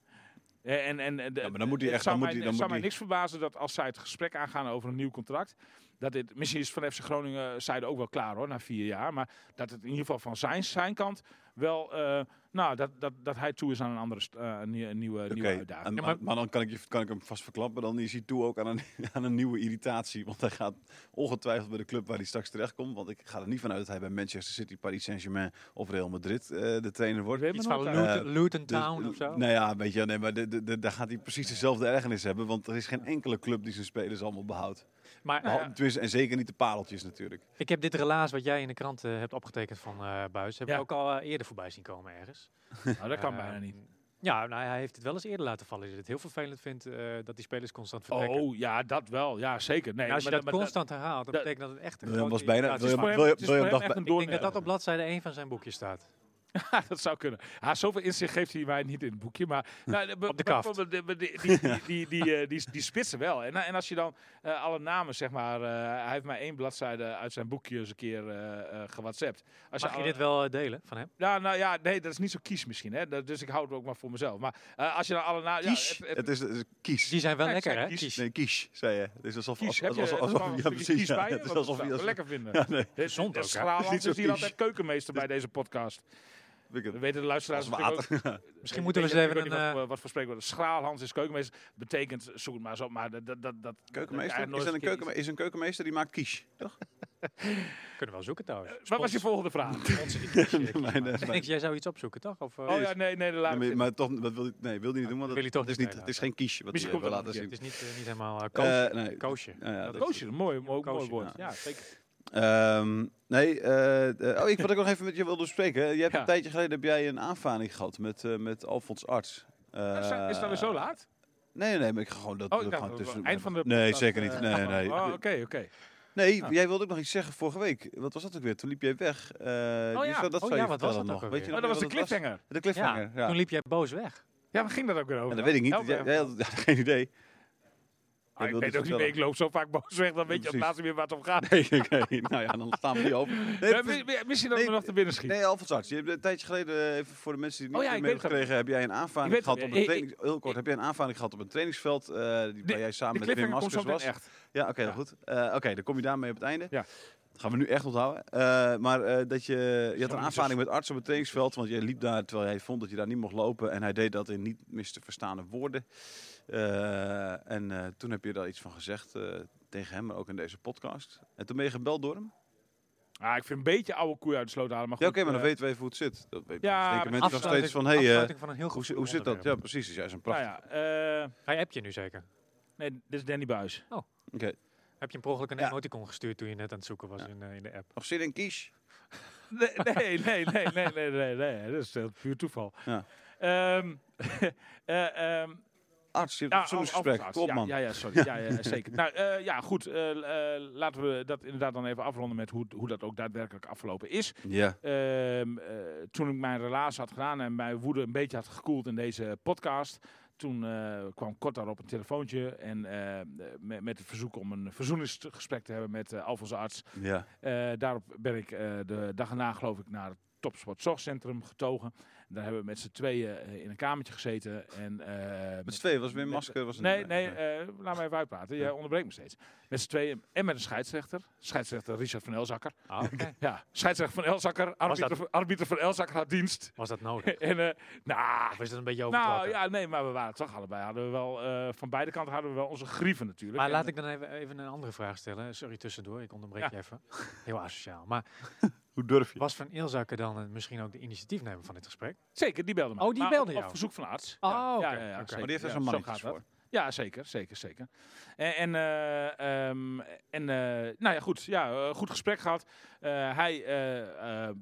Speaker 4: Eh, En, en, en de-
Speaker 2: Ja, maar dan moet hij
Speaker 4: het
Speaker 2: echt-
Speaker 4: zou
Speaker 2: dan moet hij-
Speaker 4: mij,
Speaker 2: dan moet
Speaker 4: het zou mij
Speaker 2: hij-
Speaker 4: niks verbazen dat als zij het gesprek aangaan over een nieuw contract, dat dit, misschien is van FC Groningen zijde ook wel klaar hoor, na vier jaar, maar dat het in ieder geval van zijn, zijn kant wel, eh, nou, dat, dat, dat hij toe is aan een andere, st- eh, een nieuwe, nieuwe,
Speaker 2: Oké,
Speaker 4: nieuwe uitdaging.
Speaker 2: en-
Speaker 3: Ja,
Speaker 2: maar,
Speaker 3: maar-
Speaker 2: maar dan kan ik, je, kan ik hem vast verklappen. Dan is hij toe ook aan een, <laughs> aan een nieuwe irritatie. Want hij gaat ongetwijfeld bij de club waar hij straks terechtkomt. Want ik ga er niet vanuit dat hij bij Manchester City, Paris Saint-Germain of Real Madrid eh, de trainer wordt.
Speaker 4: Weet
Speaker 3: Iets
Speaker 4: maar
Speaker 3: van
Speaker 4: nooit,
Speaker 2: hè?
Speaker 3: Luton, Luton
Speaker 2: Dus,
Speaker 3: Town of zo?
Speaker 2: Nou ja, weet je, nee, maar de, de, de- daar gaat hij precies dezelfde ergernis hebben. Want er is geen enkele club die zijn spelers allemaal behoudt.
Speaker 4: Nou
Speaker 3: Maar eh,
Speaker 2: Behal- tenminste, en zeker niet de pareltjes natuurlijk.
Speaker 3: ik heb dit relaas wat jij in de krant eh, hebt opgetekend van eh Buis, heb
Speaker 4: Ja.
Speaker 3: ik ook al eh, eerder voorbij zien komen ergens.
Speaker 4: Nou, dat kan
Speaker 3: Eh,
Speaker 4: bijna niet.
Speaker 3: Ja, nou, hij heeft het wel eens eerder laten vallen. Dat hij het heel vervelend vindt eh, dat die spelers constant vertrekken.
Speaker 4: Oh ja, dat wel, ja zeker.
Speaker 3: En
Speaker 4: Nee,
Speaker 3: Nou, als je
Speaker 4: maar-
Speaker 3: dat
Speaker 4: maar
Speaker 3: constant dus herhaalt, dan
Speaker 4: dat-
Speaker 3: betekent dat het echt een
Speaker 2: William
Speaker 3: grote
Speaker 2: was bijna-
Speaker 3: irritatie is.
Speaker 4: het is
Speaker 2: William-
Speaker 4: voor hem-
Speaker 2: William-
Speaker 4: het is voor hem
Speaker 2: William dacht
Speaker 4: echt een
Speaker 3: Ik denk dat
Speaker 4: doorn- <laughs>
Speaker 3: dat op bladzijde 1 van zijn boekje staat.
Speaker 4: Ja, dat zou kunnen. Ha, zoveel inzicht geeft hij mij niet in het boekje. Maar nou, de-
Speaker 3: Hm. Op de
Speaker 4: maar-
Speaker 3: kaft.
Speaker 4: maar- de-
Speaker 3: <laughs>
Speaker 4: maar die, die, die, die, die, eh, die, die spitsen wel. En, en als je dan eh, alle namen, zeg maar. eh, hij heeft maar één bladzijde uit zijn boekje eens een keer eh eh gewhatsappt. Als
Speaker 3: Mag je
Speaker 4: alle-
Speaker 3: dit wel eh, delen van hem?
Speaker 4: Nou, nou ja, nee, dat is niet zo kies misschien. Hè? Dat- dus ik hou het ook maar voor mezelf. Maar eh, als je dan alle namen.
Speaker 2: Kies.
Speaker 4: Ja,
Speaker 2: het,
Speaker 4: het- het-
Speaker 2: is, het is kies.
Speaker 3: Die zijn wel
Speaker 4: Ja, ik
Speaker 3: lekker,
Speaker 4: zei
Speaker 3: hè?
Speaker 4: kies.
Speaker 3: Kies.
Speaker 2: Nee, kies, zei je. Het is alsof...
Speaker 4: Kies,
Speaker 2: als-
Speaker 4: heb je
Speaker 2: alsof-
Speaker 4: er
Speaker 2: alsof-
Speaker 4: wel een
Speaker 2: ja,
Speaker 4: stukje
Speaker 2: precies.
Speaker 4: kies
Speaker 2: ja.
Speaker 4: bij je?
Speaker 2: Het is
Speaker 4: Want dat
Speaker 2: alsof
Speaker 4: zou
Speaker 2: je...
Speaker 4: ik wel
Speaker 2: alsof-
Speaker 4: lekker <laughs> vinden.
Speaker 2: Ja, nee.
Speaker 4: De-
Speaker 3: Gezond
Speaker 4: de
Speaker 3: ook, hè?
Speaker 4: Schraland
Speaker 2: Niet zo
Speaker 4: is hier
Speaker 2: kies.
Speaker 4: altijd keukenmeester bij deze podcast.
Speaker 2: Weet ik
Speaker 4: Dat
Speaker 2: het.
Speaker 4: weten de luisteraars
Speaker 2: Als
Speaker 4: natuurlijk ook.
Speaker 3: Misschien moeten
Speaker 4: Ik
Speaker 3: we
Speaker 4: weet
Speaker 3: eens
Speaker 4: niet-
Speaker 3: even
Speaker 4: ik
Speaker 3: een...
Speaker 4: weet niet
Speaker 3: eh,
Speaker 4: wat, wat voor spreekwoord. Schraalhans is keukenmeester. Betekent, zoek het maar zo. op, Maar dat, dat, dat, dat
Speaker 2: Keukenmeester?
Speaker 4: dat-
Speaker 2: Is, dat een
Speaker 4: dat-
Speaker 2: keuken, is een keukenmeester die maakt kies,
Speaker 4: <laughs>
Speaker 2: toch?
Speaker 3: kunnen we wel zoeken trouwens.
Speaker 4: Wat was je volgende
Speaker 2: <laughs>
Speaker 4: vraag?
Speaker 2: Mijn, eh, <laughs> mijn-
Speaker 3: Niks, jij zou iets opzoeken, toch? Of, eh,
Speaker 4: Oh ja, nee, nee, de
Speaker 2: Ja,
Speaker 4: laatste.
Speaker 2: maar, maar toch, dat wil, hij- nee, wil hij niet doen, want
Speaker 3: Wil hij toch
Speaker 2: het, is
Speaker 3: niet,
Speaker 2: niet,
Speaker 3: nee,
Speaker 2: het is geen kiesje wat
Speaker 4: Misschien
Speaker 2: hij eh, wil
Speaker 4: komt
Speaker 2: laten
Speaker 4: dat
Speaker 3: het
Speaker 2: zien.
Speaker 3: is niet, eh, niet helemaal uh,
Speaker 2: Eh, nee.
Speaker 3: Koosje.
Speaker 2: Ja, ja,
Speaker 3: Dat
Speaker 2: dat-
Speaker 4: Koosje, mooi, mooi, mooi
Speaker 3: Koosje,
Speaker 4: woord.
Speaker 3: ja.
Speaker 4: Ja, zeker.
Speaker 2: Ehm, nee, eh, eh, oh, ik, wat ik nog even met je wilde bespreken. Je hebt
Speaker 4: Ja.
Speaker 2: een tijdje geleden heb jij een aanvaring gehad met, eh, met Alfons Arts. Eh,
Speaker 4: Is dat- Is dat weer zo laat?
Speaker 2: Nee, nee, maar ik ga gewoon dat...
Speaker 4: Oh,
Speaker 2: we
Speaker 4: ik dacht,
Speaker 2: gaan tussen-
Speaker 4: eind van de...
Speaker 2: Nee,
Speaker 4: podcast,
Speaker 2: zeker
Speaker 4: eh,
Speaker 2: niet. Nee, nee.
Speaker 4: Oh, oké, oké.
Speaker 2: Nee,
Speaker 4: Ah.
Speaker 2: jij wilde ook nog iets zeggen vorige week. Wat was dat ook weer? Toen liep jij weg. Eh, je
Speaker 4: ja.
Speaker 2: zou- dat zou
Speaker 3: Oh ja,
Speaker 2: je
Speaker 3: wat was
Speaker 2: vertellen
Speaker 3: dat ook
Speaker 2: nog.
Speaker 3: alweer?
Speaker 2: Weet je
Speaker 4: Oh,
Speaker 2: nog
Speaker 4: dat was de
Speaker 2: wat het
Speaker 4: cliffhanger.
Speaker 2: De
Speaker 3: Ja,
Speaker 2: cliffhanger, ja.
Speaker 3: toen liep jij boos weg.
Speaker 4: Ja, waar ging dat ook weer over?
Speaker 2: Ja, dat weet ik niet.
Speaker 4: Help
Speaker 2: Jij,
Speaker 4: even.
Speaker 2: jij had, <laughs> geen idee.
Speaker 4: Ah, Ik
Speaker 2: wilde
Speaker 4: weet
Speaker 2: iets
Speaker 4: ook niet meer, ik
Speaker 2: vertellen.
Speaker 4: loop zo vaak boos weg, dan weet je op
Speaker 2: precies.
Speaker 4: het laatste weer waar het om gaat.
Speaker 2: Nee, oké. Nou ja, dan staan we die open. Nee,
Speaker 4: Eh,
Speaker 2: dat is-
Speaker 4: mi- mi- Misschien dat
Speaker 2: nee,
Speaker 4: ik me nog te binnen schiet.
Speaker 2: Nee, Alfons Arts, je hebt een tijdje geleden, eh, even voor de mensen die
Speaker 4: Oh
Speaker 2: niet meer
Speaker 4: ja, ik
Speaker 2: mee
Speaker 4: weet
Speaker 2: hebben gekregen, heb jij een aanvaring
Speaker 4: Ik weet-
Speaker 2: gehad op
Speaker 4: eh,
Speaker 2: een
Speaker 4: eh,
Speaker 2: training, heel kort, heb jij een aanvaring gehad op een trainingsveld, eh, die, waar jij
Speaker 4: De
Speaker 2: samen met Wim
Speaker 4: cliffhanger komt
Speaker 2: Maskers
Speaker 4: zo meteen
Speaker 2: was?
Speaker 4: echt.
Speaker 2: Ja, oké,
Speaker 4: Ja.
Speaker 2: goed. Eh, oké, dan kom je daarmee op het einde.
Speaker 4: Ja.
Speaker 2: Dat gaan we nu echt onthouden. Eh, maar eh, dat je, je had
Speaker 4: zo- dus-
Speaker 2: een aanvaring met arts op het trainingsveld, want jij liep daar terwijl jij vond dat je daar niet mocht lopen en hij deed dat in niet mis te verstaande woorden. Eh, en eh, toen heb je daar iets van gezegd eh, tegen hem, maar ook in deze podcast. En toen ben je gebeld door hem?
Speaker 4: Ah, ik vind een beetje oude koeien uit de sloot halen, maar
Speaker 2: Ja,
Speaker 4: goed.
Speaker 2: oké, maar dan
Speaker 4: eh,
Speaker 2: weten we even hoe het zit. Dat weten
Speaker 4: Ja,
Speaker 2: denken mensen nog
Speaker 3: Afsluiting-
Speaker 2: steeds van, hé, hey, eh,
Speaker 3: afsluiting van een heel
Speaker 2: hoe,
Speaker 3: goed
Speaker 2: zi- hoe zit dat? Ja,
Speaker 3: onderwerp.
Speaker 2: precies. is juist een
Speaker 4: Nou
Speaker 2: prachtig.
Speaker 4: ja, eh,
Speaker 3: Hij appt je nu zeker.
Speaker 4: nee, dit is Danny Buis.
Speaker 2: Oké.
Speaker 3: Heb je hem per ongeluk een
Speaker 2: Ja.
Speaker 3: emoticon gestuurd toen je net aan het zoeken was
Speaker 2: Ja.
Speaker 3: in, eh, in de app?
Speaker 2: Nog zin in kies?
Speaker 4: <laughs> Nee, nee, nee, nee, nee, nee, nee, nee. Dat is eh, puur toeval.
Speaker 2: Ja.
Speaker 4: Ehm, <laughs> eh, ehm,
Speaker 2: Arts, je hebt een
Speaker 4: ja, Alfred
Speaker 2: verzoeningsgesprek.
Speaker 4: Arts.
Speaker 2: Kom op,
Speaker 4: ja,
Speaker 2: man.
Speaker 4: Ja, ja, sorry. Ja,
Speaker 2: <laughs>
Speaker 4: ja, zeker. Nou, eh, ja, goed. eh, eh, laten we dat inderdaad dan even afronden met hoe, hoe dat ook daadwerkelijk afgelopen is.
Speaker 2: Ja.
Speaker 4: Ehm, eh, toen ik mijn relaas had gedaan en mijn woede een beetje had gekoeld in deze podcast. Toen eh, kwam kort daarop een telefoontje en eh, met, met het verzoek om een verzoeningsgesprek te hebben met eh Alfons Arts.
Speaker 2: Ja.
Speaker 4: Eh, daarop ben ik eh, de dag erna, geloof ik, naar het Topsport Zorgcentrum getogen. Daar hebben we met z'n tweeën eh, in een kamertje gezeten. En, eh,
Speaker 2: Met z'n tweeën was weer een
Speaker 4: met-
Speaker 2: masker. Was een-
Speaker 4: Nee, nee, eh, laat mij even uitpraten. Jij onderbreekt me steeds. Met z'n tweeën en met een scheidsrechter. Scheidsrechter Richard van Elzakker.
Speaker 3: Ah, oké.
Speaker 4: <laughs> Ja, scheidsrechter van Elzakker. Arbiter,
Speaker 3: dat-
Speaker 4: van- arbiter van Elzakker had dienst. <laughs>
Speaker 3: Was dat nodig?
Speaker 4: en, eh nou,
Speaker 3: Of is dat een beetje
Speaker 4: nou
Speaker 3: overklappen?
Speaker 4: ja, nee, maar we waren toch allebei. Hadden we wel, eh, van beide kanten hadden we wel onze grieven natuurlijk.
Speaker 3: Maar
Speaker 4: En,
Speaker 3: laat ik dan even, even een andere vraag stellen. Sorry tussendoor, ik onderbreek
Speaker 4: eh, Ja.
Speaker 3: je even. Heel asociaal. Maar
Speaker 2: Hoe durf je?
Speaker 3: was Van Eelzakker dan eh, misschien ook de initiatiefnemer van dit gesprek?
Speaker 4: Zeker, die belde me.
Speaker 3: Oh, die
Speaker 4: Maar
Speaker 3: belde
Speaker 4: op,
Speaker 3: jou?
Speaker 4: op verzoek van de arts.
Speaker 3: Oh,
Speaker 4: Ja,
Speaker 3: oké,
Speaker 4: ja, ja, ja,
Speaker 3: oké.
Speaker 4: zeker.
Speaker 2: Maar die heeft er
Speaker 4: Ja,
Speaker 2: zo'n
Speaker 4: zo
Speaker 2: mannetje
Speaker 4: gaat dat.
Speaker 2: voor.
Speaker 4: Ja, zeker, zeker, zeker. En, en, eh, ehm, en eh, nou ja, goed, ja, eh, goed gesprek gehad. Eh, hij, eh, eh,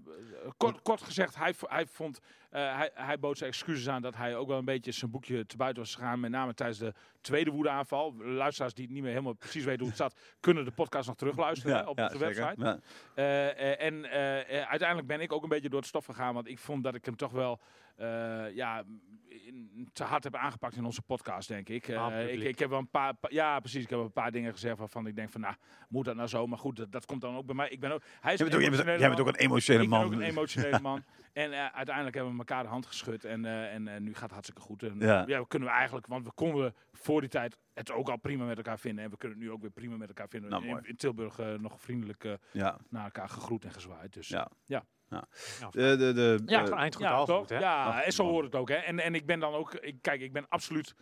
Speaker 4: kort, kort gezegd, hij, v- hij, vond, eh, hij, hij bood zijn excuses aan dat hij ook wel een beetje zijn boekje te buiten was gegaan. Met name tijdens de tweede woedeaanval. Luisteraars die het niet meer helemaal precies weten hoe het zat, <laughs> kunnen de podcast nog terugluisteren hè, eh, op de
Speaker 2: zeker.
Speaker 4: website.
Speaker 2: Ja.
Speaker 4: Eh, eh, en eh, eh, uiteindelijk ben ik ook een beetje door het stof gegaan, want ik vond dat ik hem toch wel eh, ja, in- te hard heb aangepakt in onze podcast, denk ik. Eh,
Speaker 3: Ah, publiek.
Speaker 4: ik. Ik heb wel een paar, pa- ja precies, ik heb een paar dingen gezegd waarvan ik denk van, nou, moet dat nou zo? Maar goed, dat, dat komt dan ook bij mij. Ik ben ook, hij is
Speaker 2: Jij, bent ook, jij, bent,
Speaker 4: emotionele
Speaker 2: jij bent ook
Speaker 4: man.
Speaker 2: een emotionele man.
Speaker 4: Ik ben ook een emotionele man. En eh, uiteindelijk hebben we elkaar de hand geschud. En, eh, en eh, nu gaat het hartstikke goed. En,
Speaker 2: Ja.
Speaker 4: ja. we kunnen we eigenlijk, want we konden voor die tijd het ook al prima met elkaar vinden. En we kunnen het nu ook weer prima met elkaar vinden.
Speaker 2: Nou,
Speaker 4: In-
Speaker 2: mooi.
Speaker 4: in, Tilburg eh, nog vriendelijk eh,
Speaker 2: ja.
Speaker 4: naar elkaar gegroet en gezwaaid. Dus.
Speaker 2: Ja.
Speaker 4: Ja.
Speaker 3: Nou,
Speaker 2: De, de, de,
Speaker 4: Ja,
Speaker 2: eh,
Speaker 3: Gewoon eind goed, al
Speaker 4: toch?
Speaker 3: goed, hè?
Speaker 4: Ja,
Speaker 2: Ach,
Speaker 4: en zo
Speaker 2: man.
Speaker 4: hoort het ook. Hè? En, en ik ben dan ook, ik, kijk, ik ben absoluut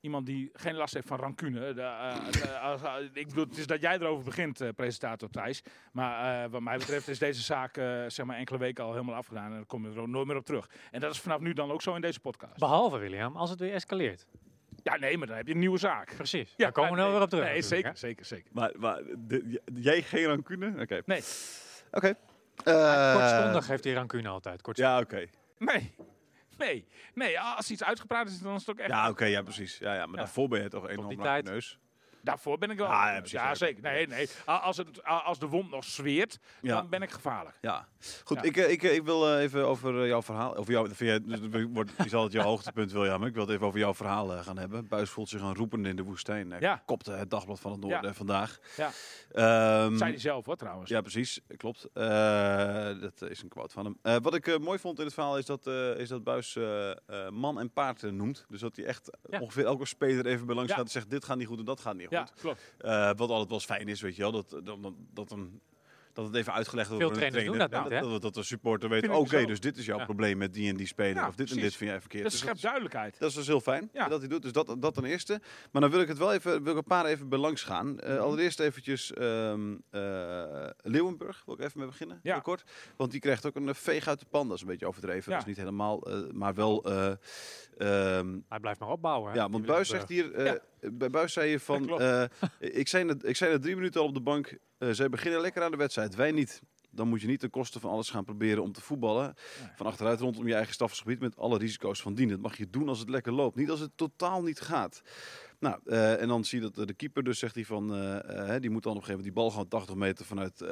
Speaker 4: iemand die geen last heeft van rancune. De, eh, de- als- eh, ik bedoel, het is dat jij erover begint, eh, presentator Thijs. Maar eh, wat mij betreft is deze zaak eh, zeg maar enkele weken al helemaal afgedaan. En daar kom je er ook nooit meer op terug. En dat is vanaf nu dan ook zo in deze podcast.
Speaker 3: Behalve, William, als het weer escaleert.
Speaker 4: Ja, nee, maar dan heb je een nieuwe zaak.
Speaker 3: Precies.
Speaker 4: Ja,
Speaker 3: Daar komen we nou
Speaker 4: nee,
Speaker 3: weer op terug.
Speaker 4: Nee,
Speaker 3: natuurlijk,
Speaker 4: zeker, zeker, zeker.
Speaker 2: maar, maar de- j- jij geen rancune? Oké.
Speaker 4: Nee.
Speaker 2: Oké.
Speaker 3: hè?
Speaker 2: Eh,
Speaker 3: Kortstondig heeft hij rancune altijd. Kort...
Speaker 2: Ja, oké.
Speaker 4: Nee, nee, nee. Als iets uitgepraat is, dan is het ook echt...
Speaker 2: Ja, oké, ja, precies. Ja, ja, maar
Speaker 4: Ja.
Speaker 2: daarvoor ben je toch enorm
Speaker 3: die tijd.
Speaker 2: neus.
Speaker 4: Daarvoor ben ik wel.
Speaker 2: Ah, ja, precies. Ja,
Speaker 4: zeker. Nee, nee. A- Als, het, a- als de wond nog zweert,
Speaker 2: Ja.
Speaker 4: dan ben ik gevaarlijk.
Speaker 2: Ja, goed.
Speaker 4: Ja.
Speaker 2: Ik, eh, ik, eh, ik wil eh, even over eh, jouw verhaal. Over jou, vind jij, dus het wordt, is altijd jouw <laughs> hoogtepunt, William. Ik wil het even over jouw verhaal eh, gaan hebben. Buis voelt zich een roepende in de woestijn. Hij
Speaker 4: Ja.
Speaker 2: kopte het dagblad van het Noorden
Speaker 4: Ja.
Speaker 2: vandaag.
Speaker 4: Ja.
Speaker 2: Ehm,
Speaker 4: Zei hij zelf hoor, trouwens.
Speaker 2: ja, precies. Klopt. Eh, dat is een quote van hem. Eh, wat ik eh, mooi vond in het verhaal is dat, eh, is dat Buis man en paard eh, noemt. Dus dat hij echt
Speaker 3: Ja.
Speaker 2: ongeveer elke speler even bij langs
Speaker 4: Ja.
Speaker 2: gaat en zegt: dit gaat niet goed en dat gaat niet goed.
Speaker 4: Ja, klopt.
Speaker 2: Eh, wat altijd wel eens fijn is, weet je wel, dat, dat, dat, dat, een, dat het even uitgelegd wordt.
Speaker 3: Veel
Speaker 2: door een
Speaker 3: trainers doen
Speaker 2: trainer.
Speaker 3: dat
Speaker 2: Ja,
Speaker 3: niet, hè?
Speaker 2: dat, dat de supporter weet,
Speaker 4: Vind
Speaker 2: oké,
Speaker 4: ik zo.
Speaker 2: dus dit is jouw
Speaker 3: Ja.
Speaker 2: probleem met die en die speler.
Speaker 4: Ja,
Speaker 2: of dit en
Speaker 4: precies.
Speaker 2: dit vind jij verkeerd.
Speaker 4: Dat
Speaker 2: Dus
Speaker 4: schept
Speaker 2: dat,
Speaker 4: duidelijkheid.
Speaker 2: dat is dus heel fijn
Speaker 4: Ja.
Speaker 2: dat hij doet. Dus dat, dat ten eerste. Maar dan wil ik het wel even, wil ik een paar even belangs gaan.
Speaker 4: Mhm.
Speaker 2: Eh, allereerst eventjes ehm, eh, Leeuwenburg, wil ik even mee beginnen.
Speaker 4: Ja.
Speaker 2: Heel kort. Want die krijgt ook een eh, veeg uit de pan. Dat is een beetje overdreven.
Speaker 4: Ja.
Speaker 2: Dat is niet helemaal, eh, maar wel... eh, ehm,
Speaker 3: Hij blijft maar opbouwen. hè,
Speaker 2: ja, want
Speaker 3: die
Speaker 2: Buis
Speaker 3: Willemsburg.
Speaker 2: zegt hier, eh, bij Buis zei je van,
Speaker 4: klopt.
Speaker 2: eh, ik, zei net, ik zei net drie minuten al op de bank, eh, zij beginnen lekker aan de wedstrijd, wij niet. Dan moet je niet ten koste van alles gaan proberen om te voetballen.
Speaker 4: Nee.
Speaker 2: Van achteruit rondom je eigen stafgebied met alle risico's van dien. Dat mag je doen als het lekker loopt, niet als het totaal niet gaat. Nou, eh, en dan zie je dat eh, de keeper dus zegt hij van, eh, eh, hè, die moet dan op een gegeven moment die bal gewoon 80 meter vanuit, eh,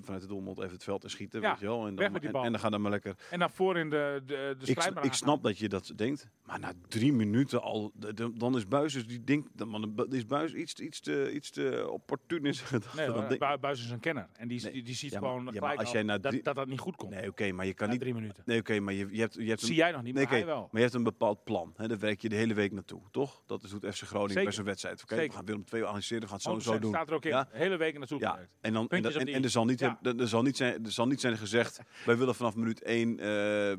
Speaker 2: vanuit de doelmond even het veld in schieten.
Speaker 4: Ja,
Speaker 2: weet je wel. En,
Speaker 4: weg
Speaker 2: dan,
Speaker 4: met die
Speaker 2: en-
Speaker 4: bal.
Speaker 2: en dan gaan dan maar lekker
Speaker 4: En daarvoor in de, de,
Speaker 2: ik,
Speaker 4: de strijd
Speaker 2: sn-
Speaker 4: Dus maar
Speaker 2: ik
Speaker 4: aan-
Speaker 2: snap dat je dat denkt, maar na drie minuten al, d- d- dan is Buis dus die denkt, dan man, dan is Buis iets, iets te, iets te opportun in zijn <laughs> gedachten.
Speaker 4: Nee,
Speaker 2: Dan
Speaker 4: hoor,
Speaker 2: denk-
Speaker 4: Bu- Buijs is een kenner. En die,
Speaker 2: Nee.
Speaker 4: die, die ziet
Speaker 2: Ja, maar-
Speaker 4: gewoon
Speaker 2: ja, maar
Speaker 4: gelijk
Speaker 2: als
Speaker 4: al
Speaker 2: jij na
Speaker 4: dat,
Speaker 2: drie-
Speaker 4: dat dat niet goed komt.
Speaker 2: nee, oké, maar je kan
Speaker 4: na
Speaker 2: niet.
Speaker 4: drie minuten.
Speaker 2: Nee, oké, maar je, je hebt, je hebt
Speaker 4: Zie
Speaker 2: een,
Speaker 4: jij nog niet,
Speaker 2: nee,
Speaker 4: maar hij
Speaker 2: oké,
Speaker 4: wel.
Speaker 2: maar je hebt een bepaald plan. Hè? Daar werk je de hele week naartoe, toch? Dat is hoe het FC Groningen
Speaker 4: Zeker.
Speaker 2: bij zijn wedstrijd. Oké, we
Speaker 4: Zeker.
Speaker 2: gaan Willem 2 analyseren, we gaan het zo, en
Speaker 4: 100%
Speaker 2: zo doen.
Speaker 4: Oh, staat er ook in.
Speaker 2: Ja?
Speaker 4: De hele week naartoe
Speaker 2: Ja,
Speaker 4: gewerkt.
Speaker 2: en, dan, en,
Speaker 3: Puntjes
Speaker 2: dat-
Speaker 3: op
Speaker 2: en,
Speaker 3: de i.
Speaker 2: en er, zal niet
Speaker 4: Ja.
Speaker 2: hebben- er, er zal niet zijn, er zal niet zijn gezegd, wij willen vanaf minuut 1,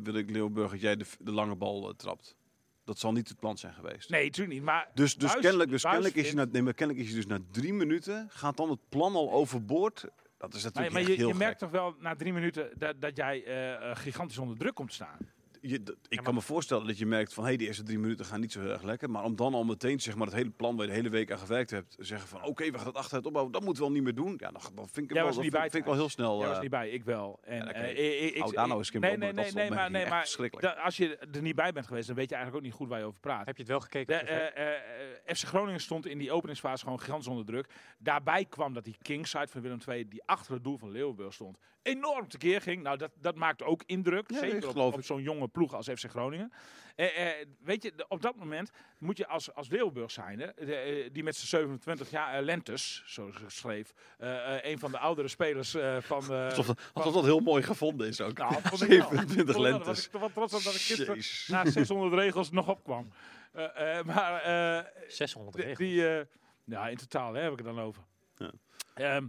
Speaker 2: wil ik Leeuwburg dat jij de, de lange bal eh, trapt. Dat zal niet het plan zijn geweest.
Speaker 4: Nee, natuurlijk niet. Maar
Speaker 2: Dus, dus,
Speaker 4: Buijs-
Speaker 2: kennelijk, dus
Speaker 4: Buijs
Speaker 2: kennelijk, is je
Speaker 4: vindt-
Speaker 2: na, nee, maar kennelijk is je dus na drie minuten, gaat dan het plan al overboord. Dat is
Speaker 4: maar,
Speaker 2: natuurlijk
Speaker 4: maar
Speaker 2: echt
Speaker 4: je,
Speaker 2: heel
Speaker 4: je merkt
Speaker 2: gek.
Speaker 4: toch wel na drie minuten dat, dat jij eh, eh, gigantisch onder druk komt te staan.
Speaker 2: Je- dat- ik
Speaker 3: maar-
Speaker 2: kan me voorstellen dat je merkt van, hé, de eerste drie minuten gaan niet zo heel erg lekker. Maar om dan al meteen zeg maar, het hele plan waar je de hele week aan gewerkt hebt, zeggen van, oké, we gaan het achteruit opbouwen, dat moeten we al niet meer doen. Ja, dan, dan vind ik,
Speaker 4: Jij
Speaker 2: hem wel, dat
Speaker 4: was er
Speaker 2: vind,
Speaker 4: niet bij,
Speaker 2: vind ik wel heel snel...
Speaker 4: Jij was
Speaker 2: eh,
Speaker 4: er niet bij, ik wel. En,
Speaker 2: ja, oké.
Speaker 4: eh, eh, ik- ik-
Speaker 2: Hou daar nou eens een keer
Speaker 4: nee,
Speaker 2: op,
Speaker 4: nee,
Speaker 2: want dat
Speaker 4: nee,
Speaker 2: is
Speaker 4: nee, maar,
Speaker 2: opmerking
Speaker 4: nee,
Speaker 2: echt
Speaker 4: maar
Speaker 2: verschrikkelijk.
Speaker 4: da- als je er niet bij bent geweest, dan weet je eigenlijk ook niet goed waar je over praat.
Speaker 3: Heb je het wel gekeken?
Speaker 4: De,
Speaker 3: op tv?
Speaker 4: eh, eh, FC Groningen stond in die openingsfase gewoon gigantisch onder druk. Daarbij kwam dat die kingside van Willem II, die achter het doel van Leeuwenburg stond, enorm tekeer ging. Nou, dat, dat maakt ook indruk,
Speaker 2: Ja, ik
Speaker 4: zeker op,
Speaker 2: geloof
Speaker 4: op
Speaker 2: het.
Speaker 4: zo'n jonge ploeg als FC Groningen. Eh, eh, weet je, de- op dat moment moet je als, als Leeuwenburg zijnde, de, eh, die met zijn 27 jaar eh, Lentes, zo ze schreef, eh, eh, een van de oudere spelers eh, van... eh,
Speaker 2: Alsof, dat- alsof dat heel mooi gevonden is ook.
Speaker 4: <laughs> nou, vond ik wel.
Speaker 2: 27
Speaker 4: Vond ik wel. Daar was
Speaker 2: lentes.
Speaker 4: ik toch wel trots op dat ik gisteren
Speaker 2: Jezus.
Speaker 4: na 600 regels nog opkwam. Eh, eh, maar eh,
Speaker 3: 600
Speaker 4: die,
Speaker 3: regels.
Speaker 4: die, eh, ja, in totaal hè, heb ik het dan over.
Speaker 2: Ja.
Speaker 4: Ehm,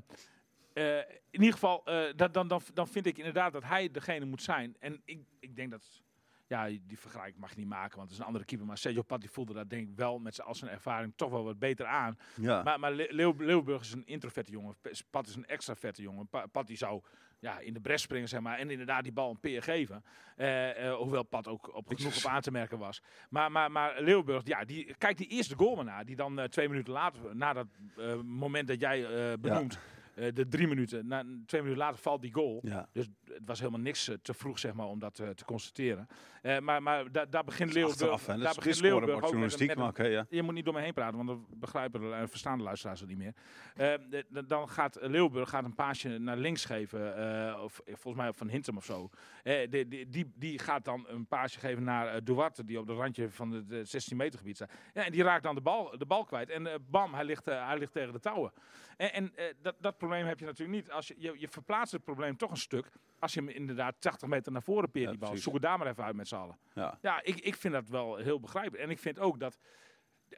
Speaker 4: eh, in ieder geval, eh, dat, dan, dan, dan vind ik inderdaad dat hij degene moet zijn. En ik, ik denk dat, ja, die vergelijking mag je niet maken, want het is een andere keeper. Maar Sergio Pat die voelde dat denk ik wel met zijn, als zijn ervaring toch wel wat beter aan.
Speaker 2: Ja.
Speaker 4: Maar, maar Le- Leeuw- Leeuwburg is een introverte jongen. P- Pat is een extraverte jongen. Pa- Pat die zou ja, in de bres springen, zeg maar. En inderdaad die bal een peer geven. Eh, eh, hoewel Pat ook op genoeg op aan te merken was. Maar, maar, maar Leeuwburg, ja, die, kijk die eerste goal maar na. Die dan eh, twee minuten later, na dat eh, moment dat jij eh, benoemt, eh, de drie minuten, na, twee minuten later valt die goal.
Speaker 2: Ja.
Speaker 4: Dus het was helemaal niks eh, te vroeg zeg maar, om dat eh, te constateren. Eh, maar maar da- daar begint
Speaker 2: Achteraf, hè.
Speaker 4: Leeuwburg, daar
Speaker 2: Dat is
Speaker 4: begint
Speaker 2: scoren
Speaker 4: Leeuwburg
Speaker 2: wordt
Speaker 4: ook met, een-
Speaker 2: journalistiek,
Speaker 4: met
Speaker 2: maar
Speaker 4: een
Speaker 2: oké, ja.
Speaker 4: je moet niet door me heen praten, want dan begrijpen de, eh, verstaan de luisteraars het niet meer. Eh, de- de- dan gaat Leeuwburg gaat een paasje naar links geven, eh, of, eh, volgens mij van Hintem of zo. Eh, de- de- die, die gaat dan een paasje geven naar eh, Duarte, die op het randje van het eh, 16 meter gebied staat. Ja, en die raakt dan de bal, de bal kwijt. En eh, bam, hij ligt, eh, hij ligt tegen de touwen. En, en eh, dat, dat probleem heb je natuurlijk niet. Als je, je, je verplaatst het probleem toch een stuk als je hem inderdaad 80 meter naar voren peert,
Speaker 2: Ja,
Speaker 4: die bal.
Speaker 2: precies.
Speaker 4: Zoek het daar maar even uit met z'n allen.
Speaker 2: Ja.
Speaker 4: Ja, ik, ik vind dat wel heel begrijpelijk. En ik vind ook dat.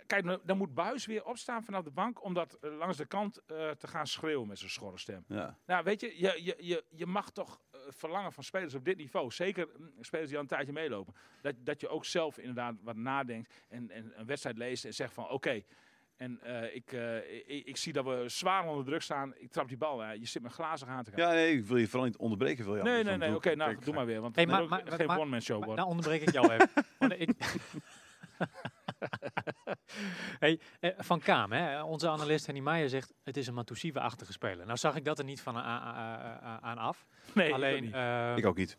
Speaker 4: Kijk, nou, dan moet Buis weer opstaan vanaf de bank om dat eh, langs de kant eh, te gaan schreeuwen met zijn schorre stem.
Speaker 2: Ja.
Speaker 4: Nou, weet je, je, je, je, je mag toch eh, verlangen van spelers op dit niveau, zeker mm, spelers die al een tijdje meelopen, dat, dat je ook zelf inderdaad wat nadenkt en, en een wedstrijd leest en zegt van oké, en eh, ik, eh, ik, ik zie dat we zwaar onder druk staan, ik trap die bal, hè. je zit met glazen aan te kijken.
Speaker 2: ja, nee, ik wil je vooral niet onderbreken, William.
Speaker 4: nee,
Speaker 2: Dus
Speaker 4: nee,
Speaker 2: dan
Speaker 4: nee, oké,
Speaker 2: doe ik-
Speaker 4: nou,
Speaker 2: ik-
Speaker 4: doe maar weer, want
Speaker 3: Hey,
Speaker 4: het
Speaker 3: maar-
Speaker 4: moet ook
Speaker 3: maar-
Speaker 4: geen
Speaker 3: maar-
Speaker 4: one-man show
Speaker 2: Oh,
Speaker 3: Maar
Speaker 4: worden.
Speaker 3: nou onderbreek ik
Speaker 2: <laughs>
Speaker 3: jou even. Want ik- <laughs> hey, eh, van Kaam, hè, onze analist Henny Meijer zegt... het is een Matusiwa-achtige speler. Nou zag ik dat er niet van a- a- a- a- eh, aan af.
Speaker 4: nee, ik ook
Speaker 3: Alleen
Speaker 4: niet.
Speaker 3: eh,
Speaker 2: Ik ook niet.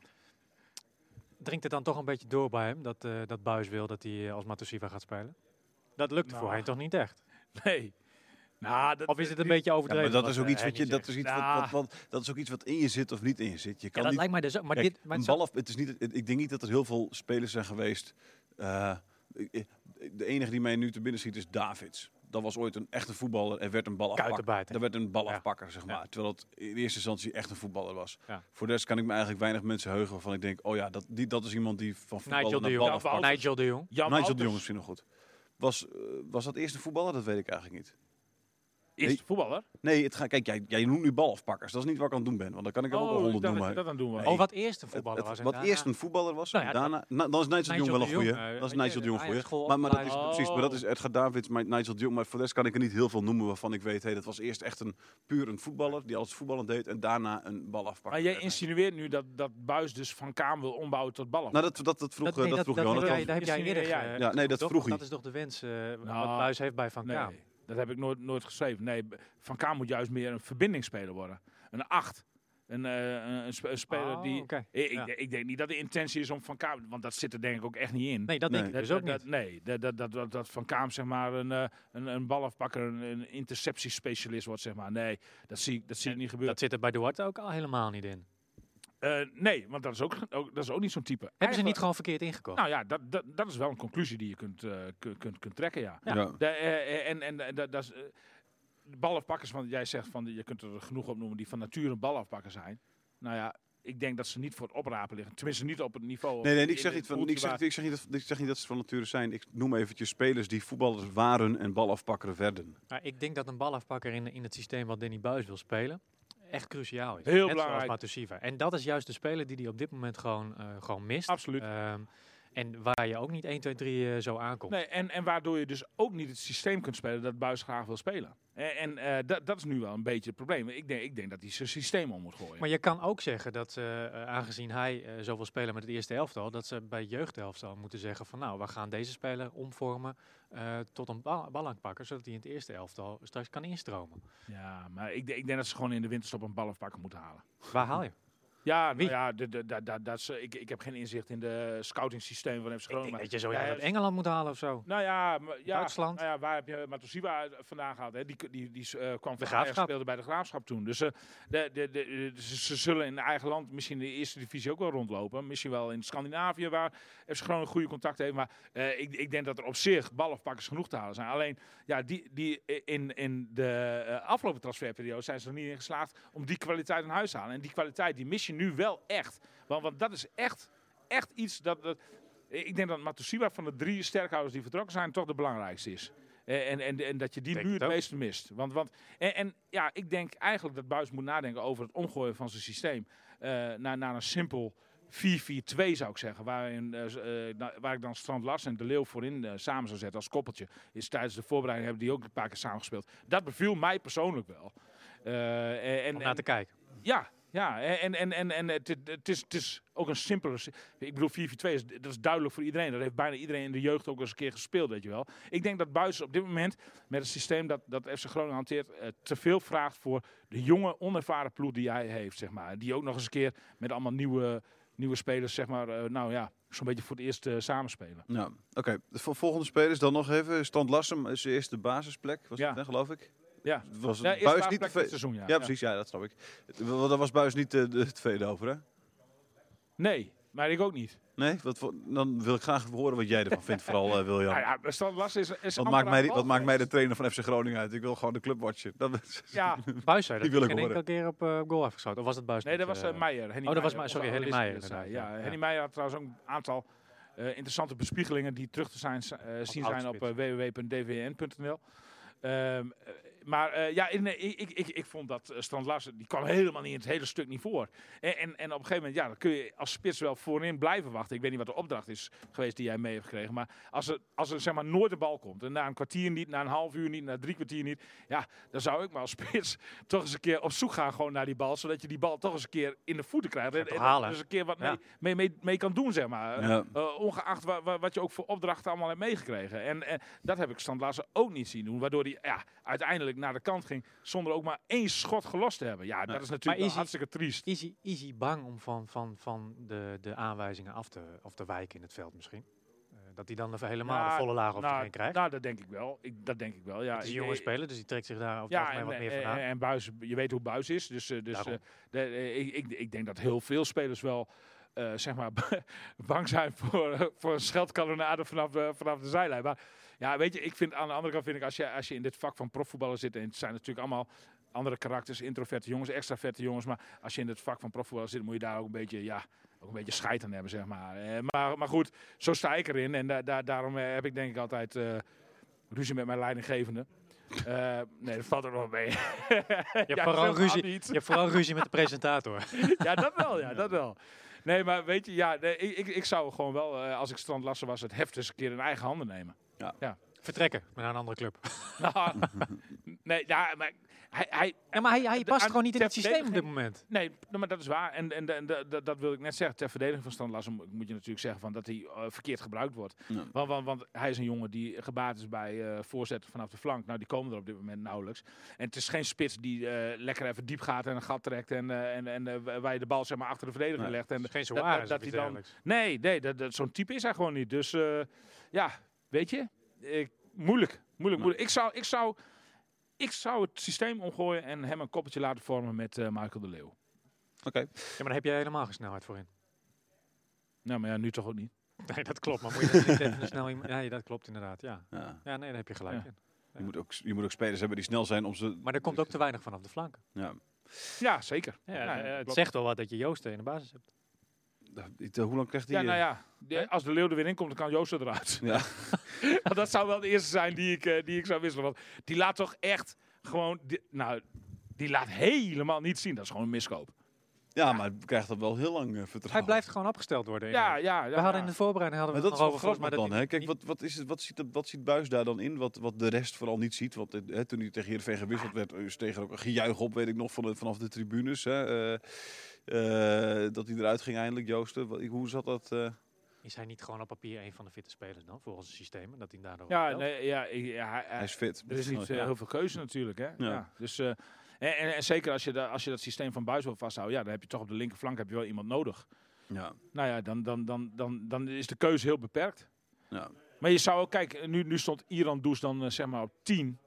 Speaker 3: dringt het dan toch een beetje door bij hem... dat, eh, dat Buis wil dat hij eh, als Matusiwa gaat spelen? Dat lukt
Speaker 4: Nou.
Speaker 3: voor hem toch niet echt?
Speaker 4: <laughs> Nee. Nou, dat,
Speaker 3: Of is het een beetje
Speaker 2: Ja, maar
Speaker 3: overdreven?
Speaker 2: dat
Speaker 3: wat,
Speaker 2: is ook
Speaker 3: eh,
Speaker 2: iets wat
Speaker 3: Henny
Speaker 2: je, dat
Speaker 3: zegt? "Ah."
Speaker 2: is iets
Speaker 4: Ja.
Speaker 2: wat, wat, wat- dat is ook iets wat in je zit of niet in je zit. Je
Speaker 3: Ja,
Speaker 2: kan
Speaker 3: dat
Speaker 2: niet
Speaker 3: lijkt mij dus ook. Maar
Speaker 2: Kijk,
Speaker 3: dit, maar
Speaker 2: een
Speaker 3: zo-
Speaker 2: bal af- het is niet, het- ik denk niet dat er heel veel spelers zijn geweest. eh, ik- ik- de enige die mij nu te binnen schiet is Davids. Dat was ooit een echte voetballer. Er werd een bal afpakker.
Speaker 3: Kuitenbijter.
Speaker 2: Er werd een bal
Speaker 3: Ja.
Speaker 2: afpakker, zeg maar. Terwijl het in eerste instantie echt een voetballer was.
Speaker 3: Ja.
Speaker 2: Voor de rest kan ik me eigenlijk weinig mensen heugen waarvan ik denk... Oh ja, dat, die, dat is iemand die van
Speaker 3: Nigel
Speaker 2: voetballer
Speaker 3: de
Speaker 2: naar bal
Speaker 3: Jong.
Speaker 4: ballenpark.
Speaker 2: afpakt.
Speaker 4: Ja,
Speaker 3: Nigel de Jong.
Speaker 4: Jan
Speaker 2: Nigel de
Speaker 4: Wouters
Speaker 2: Jong misschien nog goed. Was, eh, was dat eerst een voetballer? Dat weet ik eigenlijk niet.
Speaker 4: is
Speaker 2: Nee.
Speaker 4: voetballer.
Speaker 2: Nee, het ga, kijk, jij, jij noemt nu balafpakkers. Dat is niet wat ik aan het doen ben. Want dan kan ik er ook wel
Speaker 4: Oh, ik
Speaker 2: honderd
Speaker 4: dacht dat
Speaker 2: noemen.
Speaker 4: je dat aan doen was.
Speaker 2: Nee.
Speaker 3: Oh, wat eerst een
Speaker 2: Het-
Speaker 3: voetballer
Speaker 2: het-
Speaker 3: was. en
Speaker 2: wat
Speaker 3: daarna-
Speaker 2: eerst een voetballer was,
Speaker 3: Nou ja,
Speaker 2: daarna, na- dan is Nigel, de Jong wel een
Speaker 3: Nigel de
Speaker 2: goeie.
Speaker 3: Jong, eh,
Speaker 2: dat is
Speaker 3: weet
Speaker 2: Nigel
Speaker 3: je,
Speaker 2: de Jong
Speaker 3: de
Speaker 2: voor je.
Speaker 3: Ajax-school,
Speaker 2: Maar, maar dat is
Speaker 3: Ajax-
Speaker 4: Oh.
Speaker 2: precies, maar dat is Edgar Davids, maar Nigel de Jong. Maar voor de rest kan ik er niet heel veel noemen waarvan ik weet, hey, dat was eerst echt een puur een voetballer die alles voetballend deed en daarna een bal afpakken.
Speaker 4: Maar jij insinueert nu dat, dat Buis dus van Kaam wil ombouwen tot ballen.
Speaker 2: Nou, dat, dat, dat vroeg,
Speaker 3: nee,
Speaker 2: eh, dat vroeg Johan.
Speaker 3: heb
Speaker 2: Dat
Speaker 3: jij-
Speaker 2: was-
Speaker 3: daar heb jij
Speaker 4: Misschien,
Speaker 3: eerder
Speaker 4: eh, ja.
Speaker 3: ge-
Speaker 2: Ja, nee, dat
Speaker 3: toch?
Speaker 2: vroeg hij.
Speaker 3: Dat is toch de wens eh,
Speaker 4: Nou,
Speaker 3: wat Buis heeft bij Van
Speaker 4: nee,
Speaker 3: Kaam.
Speaker 4: dat heb ik nooit, nooit geschreven. Nee, B- Van Kaam moet juist meer een verbindingsspeler worden. Een acht. Een, eh, een, een spe- een speler
Speaker 3: Oh,
Speaker 4: die...
Speaker 3: oké,
Speaker 4: Ik, ik
Speaker 3: ja.
Speaker 4: de- ik denk niet dat de intentie is om Van Kaam... Want dat zit er denk ik ook echt niet in.
Speaker 3: Nee, dat denk
Speaker 2: Nee.
Speaker 3: ik dus ook
Speaker 4: dat,
Speaker 3: niet.
Speaker 4: nee, dat, dat, dat, dat, dat Van Kaam zeg maar een, eh, een, een balafpakker, een, een interceptiespecialist wordt zeg maar. Nee, dat zie, ik- dat zie ik niet gebeuren.
Speaker 3: Dat zit er bij Duarte ook al helemaal niet in.
Speaker 4: Eh, nee, want dat is ook, ook, dat is ook niet zo'n type.
Speaker 3: Hebben ze
Speaker 4: Eigenlijk-
Speaker 3: niet gewoon verkeerd ingekocht?
Speaker 4: Nou ja, dat, dat, dat is wel een conclusie die je kunt, eh, kun- kunt, kunt trekken, ja.
Speaker 2: Ja. Ja.
Speaker 4: De, eh, eh, en en eh, dat, dat is, eh, de balafpakkers, want jij zegt van je kunt er genoeg op noemen die van nature een balafpakker zijn. Nou ja, ik denk dat ze niet voor het oprapen liggen. Tenminste, niet op het niveau.
Speaker 2: Nee, nee,
Speaker 4: in
Speaker 2: ik zeg,
Speaker 4: het
Speaker 2: niet, van,
Speaker 4: poeltje
Speaker 2: ik, zeg,
Speaker 4: waar-
Speaker 2: ik, zeg niet dat, ik zeg niet dat ze van nature zijn. Ik noem eventjes spelers die voetballers waren en balafpakkeren werden.
Speaker 3: Maar Nou, ik denk dat een balafpakker in, in het systeem wat Danny Buis wil spelen echt cruciaal is.
Speaker 4: Heel
Speaker 3: Net zoals
Speaker 4: belangrijk.
Speaker 3: Matusiwa. En dat is juist de speler die hij op dit moment gewoon, eh, gewoon mist.
Speaker 4: Absoluut.
Speaker 3: Ehm, en waar je ook niet 1, 2, 3 eh, zo aankomt.
Speaker 4: Nee, en, en waardoor je dus ook niet het systeem kunt spelen dat Buis graag wil spelen. En, en eh, dat, dat is nu wel een beetje het probleem. Ik denk, ik denk dat hij zijn systeem om moet gooien.
Speaker 3: Maar je kan ook zeggen dat, eh, eh, aangezien hij eh, zoveel spelen met het eerste elftal, dat ze bij jeugdelftal moeten zeggen van nou, we gaan deze speler omvormen eh, tot een ba- ballankpakker, zodat hij in het eerste elftal straks kan instromen.
Speaker 4: Ja, maar ik, denk- ik denk dat ze gewoon in de winterstop een balafpakker moeten halen.
Speaker 3: Waar haal je?
Speaker 4: Ja, nou
Speaker 3: Wie?
Speaker 4: ja de, de, da- da- dat is, eh, ik, ik heb geen inzicht in de scouting systeem van FC
Speaker 3: Ik
Speaker 4: Groningen.
Speaker 3: denk
Speaker 4: maar-
Speaker 3: dat je zo
Speaker 4: Ja,
Speaker 3: ja,
Speaker 4: ja,
Speaker 3: uit Engeland moet halen of zo.
Speaker 4: Nou ja, maar- ja
Speaker 3: Duitsland.
Speaker 4: Nou ja, waar heb je Matosiwa vandaan gehad? Hè? Die, die, die eh, kwam van Ajax,
Speaker 3: Graafschap.
Speaker 4: speelde bij de Graafschap toen. Dus eh, de, de, de, de- ze, ze zullen in eigen land misschien in de eerste divisie ook wel rondlopen. Misschien wel in Scandinavië, waar FC Groningen goede contacten heeft. Maar eh, ik, ik denk dat er op zich balafpakkers genoeg te halen zijn. Alleen, ja, die, die eh, in, in de eh, afgelopen transferperiode zijn ze er niet in geslaagd om die kwaliteit in huis te halen. En die kwaliteit, die mis je nu wel echt. Want, want dat is echt, echt iets dat... dat ik denk dat Matusiwa van de drie sterkhouders die vertrokken zijn, toch de belangrijkste is. Eh, En, en, en dat je die
Speaker 3: Denk
Speaker 4: nu
Speaker 3: het
Speaker 4: het
Speaker 3: ook.
Speaker 4: meeste mist. Want, want, en, en ja, ik denk eigenlijk dat Buis moet nadenken over het omgooien van zijn systeem. eh, naar, naar een simpel 4-4-2 zou ik zeggen. Waarin, eh, z- eh, nou, waar ik dan Strand Larsen en De Leeuw voorin eh, samen zou zetten als koppeltje. Is tijdens de voorbereiding hebben die ook een paar keer samengespeeld. Dat beviel mij persoonlijk wel. Eh, en,
Speaker 3: Om
Speaker 4: en-
Speaker 3: naar te kijken.
Speaker 4: ja, Ja, en, en, en, en het, het- het, is, het is ook een simpele... si- Ik bedoel, 4-4-2, is, dat is duidelijk voor iedereen. Dat heeft bijna iedereen in de jeugd ook eens een keer gespeeld, weet je wel. Ik denk dat Buis op dit moment, met het systeem dat, dat FC Groningen hanteert... eh, te veel vraagt voor de jonge, onervaren ploeg die hij heeft, zeg maar. Die ook nog eens een keer met allemaal nieuwe, nieuwe spelers, zeg maar... eh, nou ja, zo'n beetje voor het eerst eh, samenspelen.
Speaker 2: Nou, oké. De vol- volgende spelers dan nog even. Stand Lassem is de eerste basisplek, was
Speaker 4: Ja.
Speaker 2: het, hè, geloof ik?
Speaker 4: Ja,
Speaker 2: Was
Speaker 4: ja
Speaker 2: het
Speaker 4: eerste
Speaker 2: Buis niet de
Speaker 4: plek van het
Speaker 2: ve-
Speaker 4: seizoen, ja.
Speaker 2: ja, precies. Ja, dat snap ik. Het- wel, Daar was Buis niet eh, de tweede over, hè?
Speaker 4: Nee, maar ik ook niet.
Speaker 2: Nee? Wat, voor- dan wil ik graag horen wat jij ervan vindt, vooral eh, William.
Speaker 4: Nou <laughs> ja, maar Stan Lassen is, is
Speaker 2: wat
Speaker 4: amper
Speaker 2: maakt,
Speaker 4: aan
Speaker 2: mij,
Speaker 4: de
Speaker 2: die-
Speaker 4: bal
Speaker 2: wat maakt mij de
Speaker 4: geweest.
Speaker 2: trainer van FC Groningen uit? Ik wil gewoon de club watchen. Dat is-
Speaker 4: Ja,
Speaker 3: Buis zei dat
Speaker 2: Die wil
Speaker 3: hij
Speaker 2: ik
Speaker 3: geen
Speaker 2: horen.
Speaker 3: enkele keer op eh, goal heeft geschoten. Of was het Buis
Speaker 4: Nee,
Speaker 3: niet,
Speaker 4: dat was
Speaker 3: eh,
Speaker 4: eh, Meijer. Henny
Speaker 3: oh, dat was
Speaker 4: Meijer,
Speaker 3: Meijer.
Speaker 4: onze
Speaker 3: Sorry, Henny
Speaker 4: analist
Speaker 3: Meijer
Speaker 4: die dat zei.
Speaker 3: inderdaad,
Speaker 4: Ja,
Speaker 3: ja.
Speaker 4: Henny Meijer had trouwens ook een aantal eh, interessante bespiegelingen die terug te zijn, eh, zien zijn op eh, www.dvn.nl. Ehm, eh, maar eh, ja, in, eh, ik, ik, ik, ik vond dat eh, Strand Larsen, die kwam helemaal niet in het hele stuk niet voor. En, en, en op een gegeven moment, ja, dan kun je als spits wel voorin blijven wachten. Ik weet niet wat de opdracht is geweest die jij mee hebt gekregen. Maar als er, als er zeg maar nooit de bal komt, en na een kwartier niet, na een half uur niet, na drie kwartier niet. Ja, dan zou ik maar als spits <laughs> toch eens een keer op zoek gaan gewoon naar die bal. Zodat je die bal toch eens een keer in de voeten krijgt. En,
Speaker 3: toch
Speaker 4: en
Speaker 3: halen?
Speaker 4: dus een keer wat
Speaker 3: Ja.
Speaker 4: mee, mee, mee, mee kan doen, zeg maar.
Speaker 2: Ja.
Speaker 4: Eh, ongeacht wa- wa- wat je ook voor opdrachten allemaal hebt meegekregen. En, en dat heb ik Stan Larsen ook niet zien doen. Waardoor hij ja, uiteindelijk naar de kant ging zonder ook maar één schot gelost te hebben. Ja, dat is natuurlijk
Speaker 3: Maar is
Speaker 4: wel
Speaker 3: hij-
Speaker 4: hartstikke triest.
Speaker 3: Is hij, is hij bang om van, van, van de, de aanwijzingen af te, of te wijken in het veld misschien? Eh, dat hij dan even helemaal de
Speaker 4: Nou,
Speaker 3: volle laag op zich
Speaker 4: Nou,
Speaker 3: heen krijgt?
Speaker 4: nou, dat denk ik wel. Ik, dat denk ik wel. Ja,
Speaker 3: het is een
Speaker 4: Ik-
Speaker 3: jonge
Speaker 4: ik-
Speaker 3: speler, dus die trekt zich daar over het
Speaker 4: Ja,
Speaker 3: algemeen
Speaker 4: en,
Speaker 3: wat meer
Speaker 4: eh,
Speaker 3: van aan.
Speaker 4: en, Buis, je weet hoe Buis is. Dus, eh, dus
Speaker 3: Daarom.
Speaker 4: eh, de- eh, ik, ik, ik denk dat heel veel spelers wel eh, zeg maar, <laughs> bang zijn voor, eh, voor een scheldkanonade vanaf, de- vanaf de zijlijn. Maar ja, weet je, ik vind aan de andere kant vind ik, als je, als je in dit vak van profvoetballen zit, en het zijn natuurlijk allemaal andere karakters, introverte jongens, extraverte jongens, maar als je in het vak van profvoetballen zit, moet je daar ook een beetje, ja, ook een beetje scheid aan hebben, zeg maar. Eh, maar, maar goed, zo sta ik erin en da- da- daarom eh, heb ik denk ik altijd eh, ruzie met mijn leidinggevende. Eh, nee, dat valt er nog mee. <laughs>
Speaker 3: Je hebt,
Speaker 4: Ja,
Speaker 3: vooral
Speaker 4: helemaal
Speaker 3: ruzie,
Speaker 4: niet.
Speaker 3: je hebt vooral ruzie met de <laughs> presentator.
Speaker 4: Ja, dat wel, ja, dat wel. Nee, maar weet je, ja, nee, ik, ik, ik zou gewoon wel, eh, als ik strandlasser was, het heft eens een keer in eigen handen nemen. <laughs>
Speaker 3: Vertrekken naar een andere club.
Speaker 4: Nou, nee, ja, maar hij, hij,
Speaker 3: Ja, maar hij, hij
Speaker 4: de-
Speaker 3: past
Speaker 4: aan-
Speaker 3: gewoon niet in
Speaker 4: ter
Speaker 3: het systeem op dit
Speaker 4: verdediging-
Speaker 3: moment.
Speaker 4: Nee, p- nou, maar dat is waar. En, en, en da- da- dat wil ik net zeggen. Ter verdediging van Stan Lassen mo- moet je natuurlijk zeggen van dat hij eh, verkeerd gebruikt wordt.
Speaker 2: Ja.
Speaker 4: Want, want, want hij is een jongen die gebaat is bij eh, voorzetten vanaf de flank. Nou, die komen er op dit moment nauwelijks. En het is geen spits die eh, lekker even diep gaat en een gat trekt. En, eh, en, en eh, wa- waar je de bal zeg maar, achter de verdediger
Speaker 2: Nee,
Speaker 4: legt. En
Speaker 3: Dus geen
Speaker 4: dat- dat-
Speaker 3: Suarez
Speaker 4: dat
Speaker 3: of iets
Speaker 4: hij dan-
Speaker 3: dergelijks.
Speaker 4: Nee, nee dat, dat, zo'n type is hij gewoon niet. Dus eh, ja, weet je, ik, moeilijk. Moeilijk, moeilijk. Ik, zou, ik, zou, ik zou het systeem omgooien en hem een koppeltje laten vormen met eh, Michael de Leeuw.
Speaker 3: Ja, maar daar heb jij helemaal geen snelheid voor in.
Speaker 4: Nou, maar ja, nu toch ook niet.
Speaker 3: <laughs> Nee, dat klopt. Maar moet je <laughs> dan niet even een snel iemand... Nee, dat klopt inderdaad, ja.
Speaker 2: Ja.
Speaker 3: Ja, nee, daar heb je gelijk
Speaker 4: Ja.
Speaker 3: in.
Speaker 2: Je, moet ook, je moet ook spelers hebben die snel zijn om ze...
Speaker 3: Maar er komt ook te weinig vanaf de flank.
Speaker 2: Ja.
Speaker 4: Ja, zeker.
Speaker 3: Ja,
Speaker 4: Ja,
Speaker 3: eh,
Speaker 4: dat
Speaker 3: het
Speaker 4: klopt.
Speaker 3: zegt wel wat dat je Joosten in de basis hebt.
Speaker 2: Eh, Hoe lang krijgt hij...
Speaker 4: Ja, nou
Speaker 2: eh,
Speaker 4: ja. de- als de Leeuw er weer in komt, dan kan Joost eruit.
Speaker 2: Ja.
Speaker 4: <laughs> Want dat zou wel de eerste zijn die ik, eh, die ik zou wisselen. Want die laat toch echt gewoon... di- nou, die laat helemaal niet zien. Dat is gewoon een miskoop.
Speaker 2: Ja, maar hij krijgt dat wel heel lang eh, vertrouwen.
Speaker 3: Hij blijft gewoon afgesteld worden.
Speaker 4: Ja, ja.
Speaker 3: We hadden in de voorbereiding hadden
Speaker 2: Maar
Speaker 3: we
Speaker 2: dat
Speaker 3: het
Speaker 2: is
Speaker 3: nog
Speaker 2: wel
Speaker 3: over volgens
Speaker 2: grappig
Speaker 3: mij dat
Speaker 2: dan.
Speaker 3: hij
Speaker 2: Hè? Kijk,
Speaker 3: niet-
Speaker 2: wat, wat, is het, wat, ziet, dat- wat ziet Buis daar dan in? Wat, wat de rest vooral niet ziet. Want eh, hè, toen hij tegen Heerenveen gewisseld werd, eh, steeg er ook een gejuich op, weet ik nog, van de- vanaf de tribunes. Hè? Eh, eh, dat hij eruit ging eindelijk, Joosten. Wat- Hoe zat dat? eh?
Speaker 3: Is hij niet gewoon op papier een van de fitte spelers dan, volgens het systeem? En dat hij daardoor Nou,
Speaker 4: Ja,
Speaker 3: wel-
Speaker 4: nee, ja, ik- ja, hij-
Speaker 2: Hij
Speaker 4: hij-
Speaker 2: is fit.
Speaker 4: er is niet eh, heel veel keuze natuurlijk. Hè? Ja. dus, eh, en, en, en zeker als je, da- als je dat systeem van buiten wil vasthouden... Ja, dan heb je toch op de linkerflank heb je wel iemand nodig.
Speaker 2: Ja,
Speaker 4: Nou ja, dan, dan, dan, dan, dan is de keuze heel beperkt.
Speaker 2: ja.
Speaker 4: Maar je zou ook kijken, nu, nu stond Iran Does dan eh, zeg maar op 10.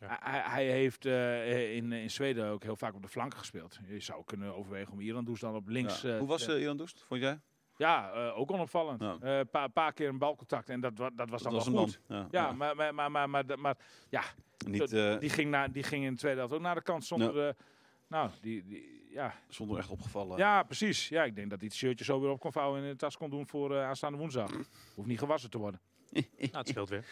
Speaker 3: Ja.
Speaker 4: Hij, hij heeft eh, in, in Zweden ook heel vaak op de flanken gespeeld. Je zou kunnen overwegen om Iran Does dan op links.
Speaker 2: Ja.
Speaker 4: eh,
Speaker 2: Hoe was
Speaker 4: te-
Speaker 2: eh Iran Doest, vond jij?
Speaker 4: Ja, eh, ook onopvallend.
Speaker 2: Ja.
Speaker 4: Een paar, paar keer een balcontact en dat, wa- dat
Speaker 2: Dat
Speaker 4: was dan
Speaker 2: was een
Speaker 4: wel
Speaker 2: man.
Speaker 4: goed.
Speaker 2: Ja,
Speaker 4: Ja,
Speaker 2: ja.
Speaker 4: Maar, maar, maar, maar, maar, dat- maar
Speaker 2: Niet eh,
Speaker 4: die, ging na, die ging in de tweede helft ook naar de kant zonder... eh, nou, die, die, ja.
Speaker 2: zonder echt opgevallen.
Speaker 4: ja, precies. Ja, ik denk dat hij het shirtje zo weer op kon vouwen en in de tas kon doen voor eh, aanstaande woensdag. Hoeft niet gewassen te worden.
Speaker 3: Nou, <laughs> het
Speaker 4: <laughs>
Speaker 3: speelt weer.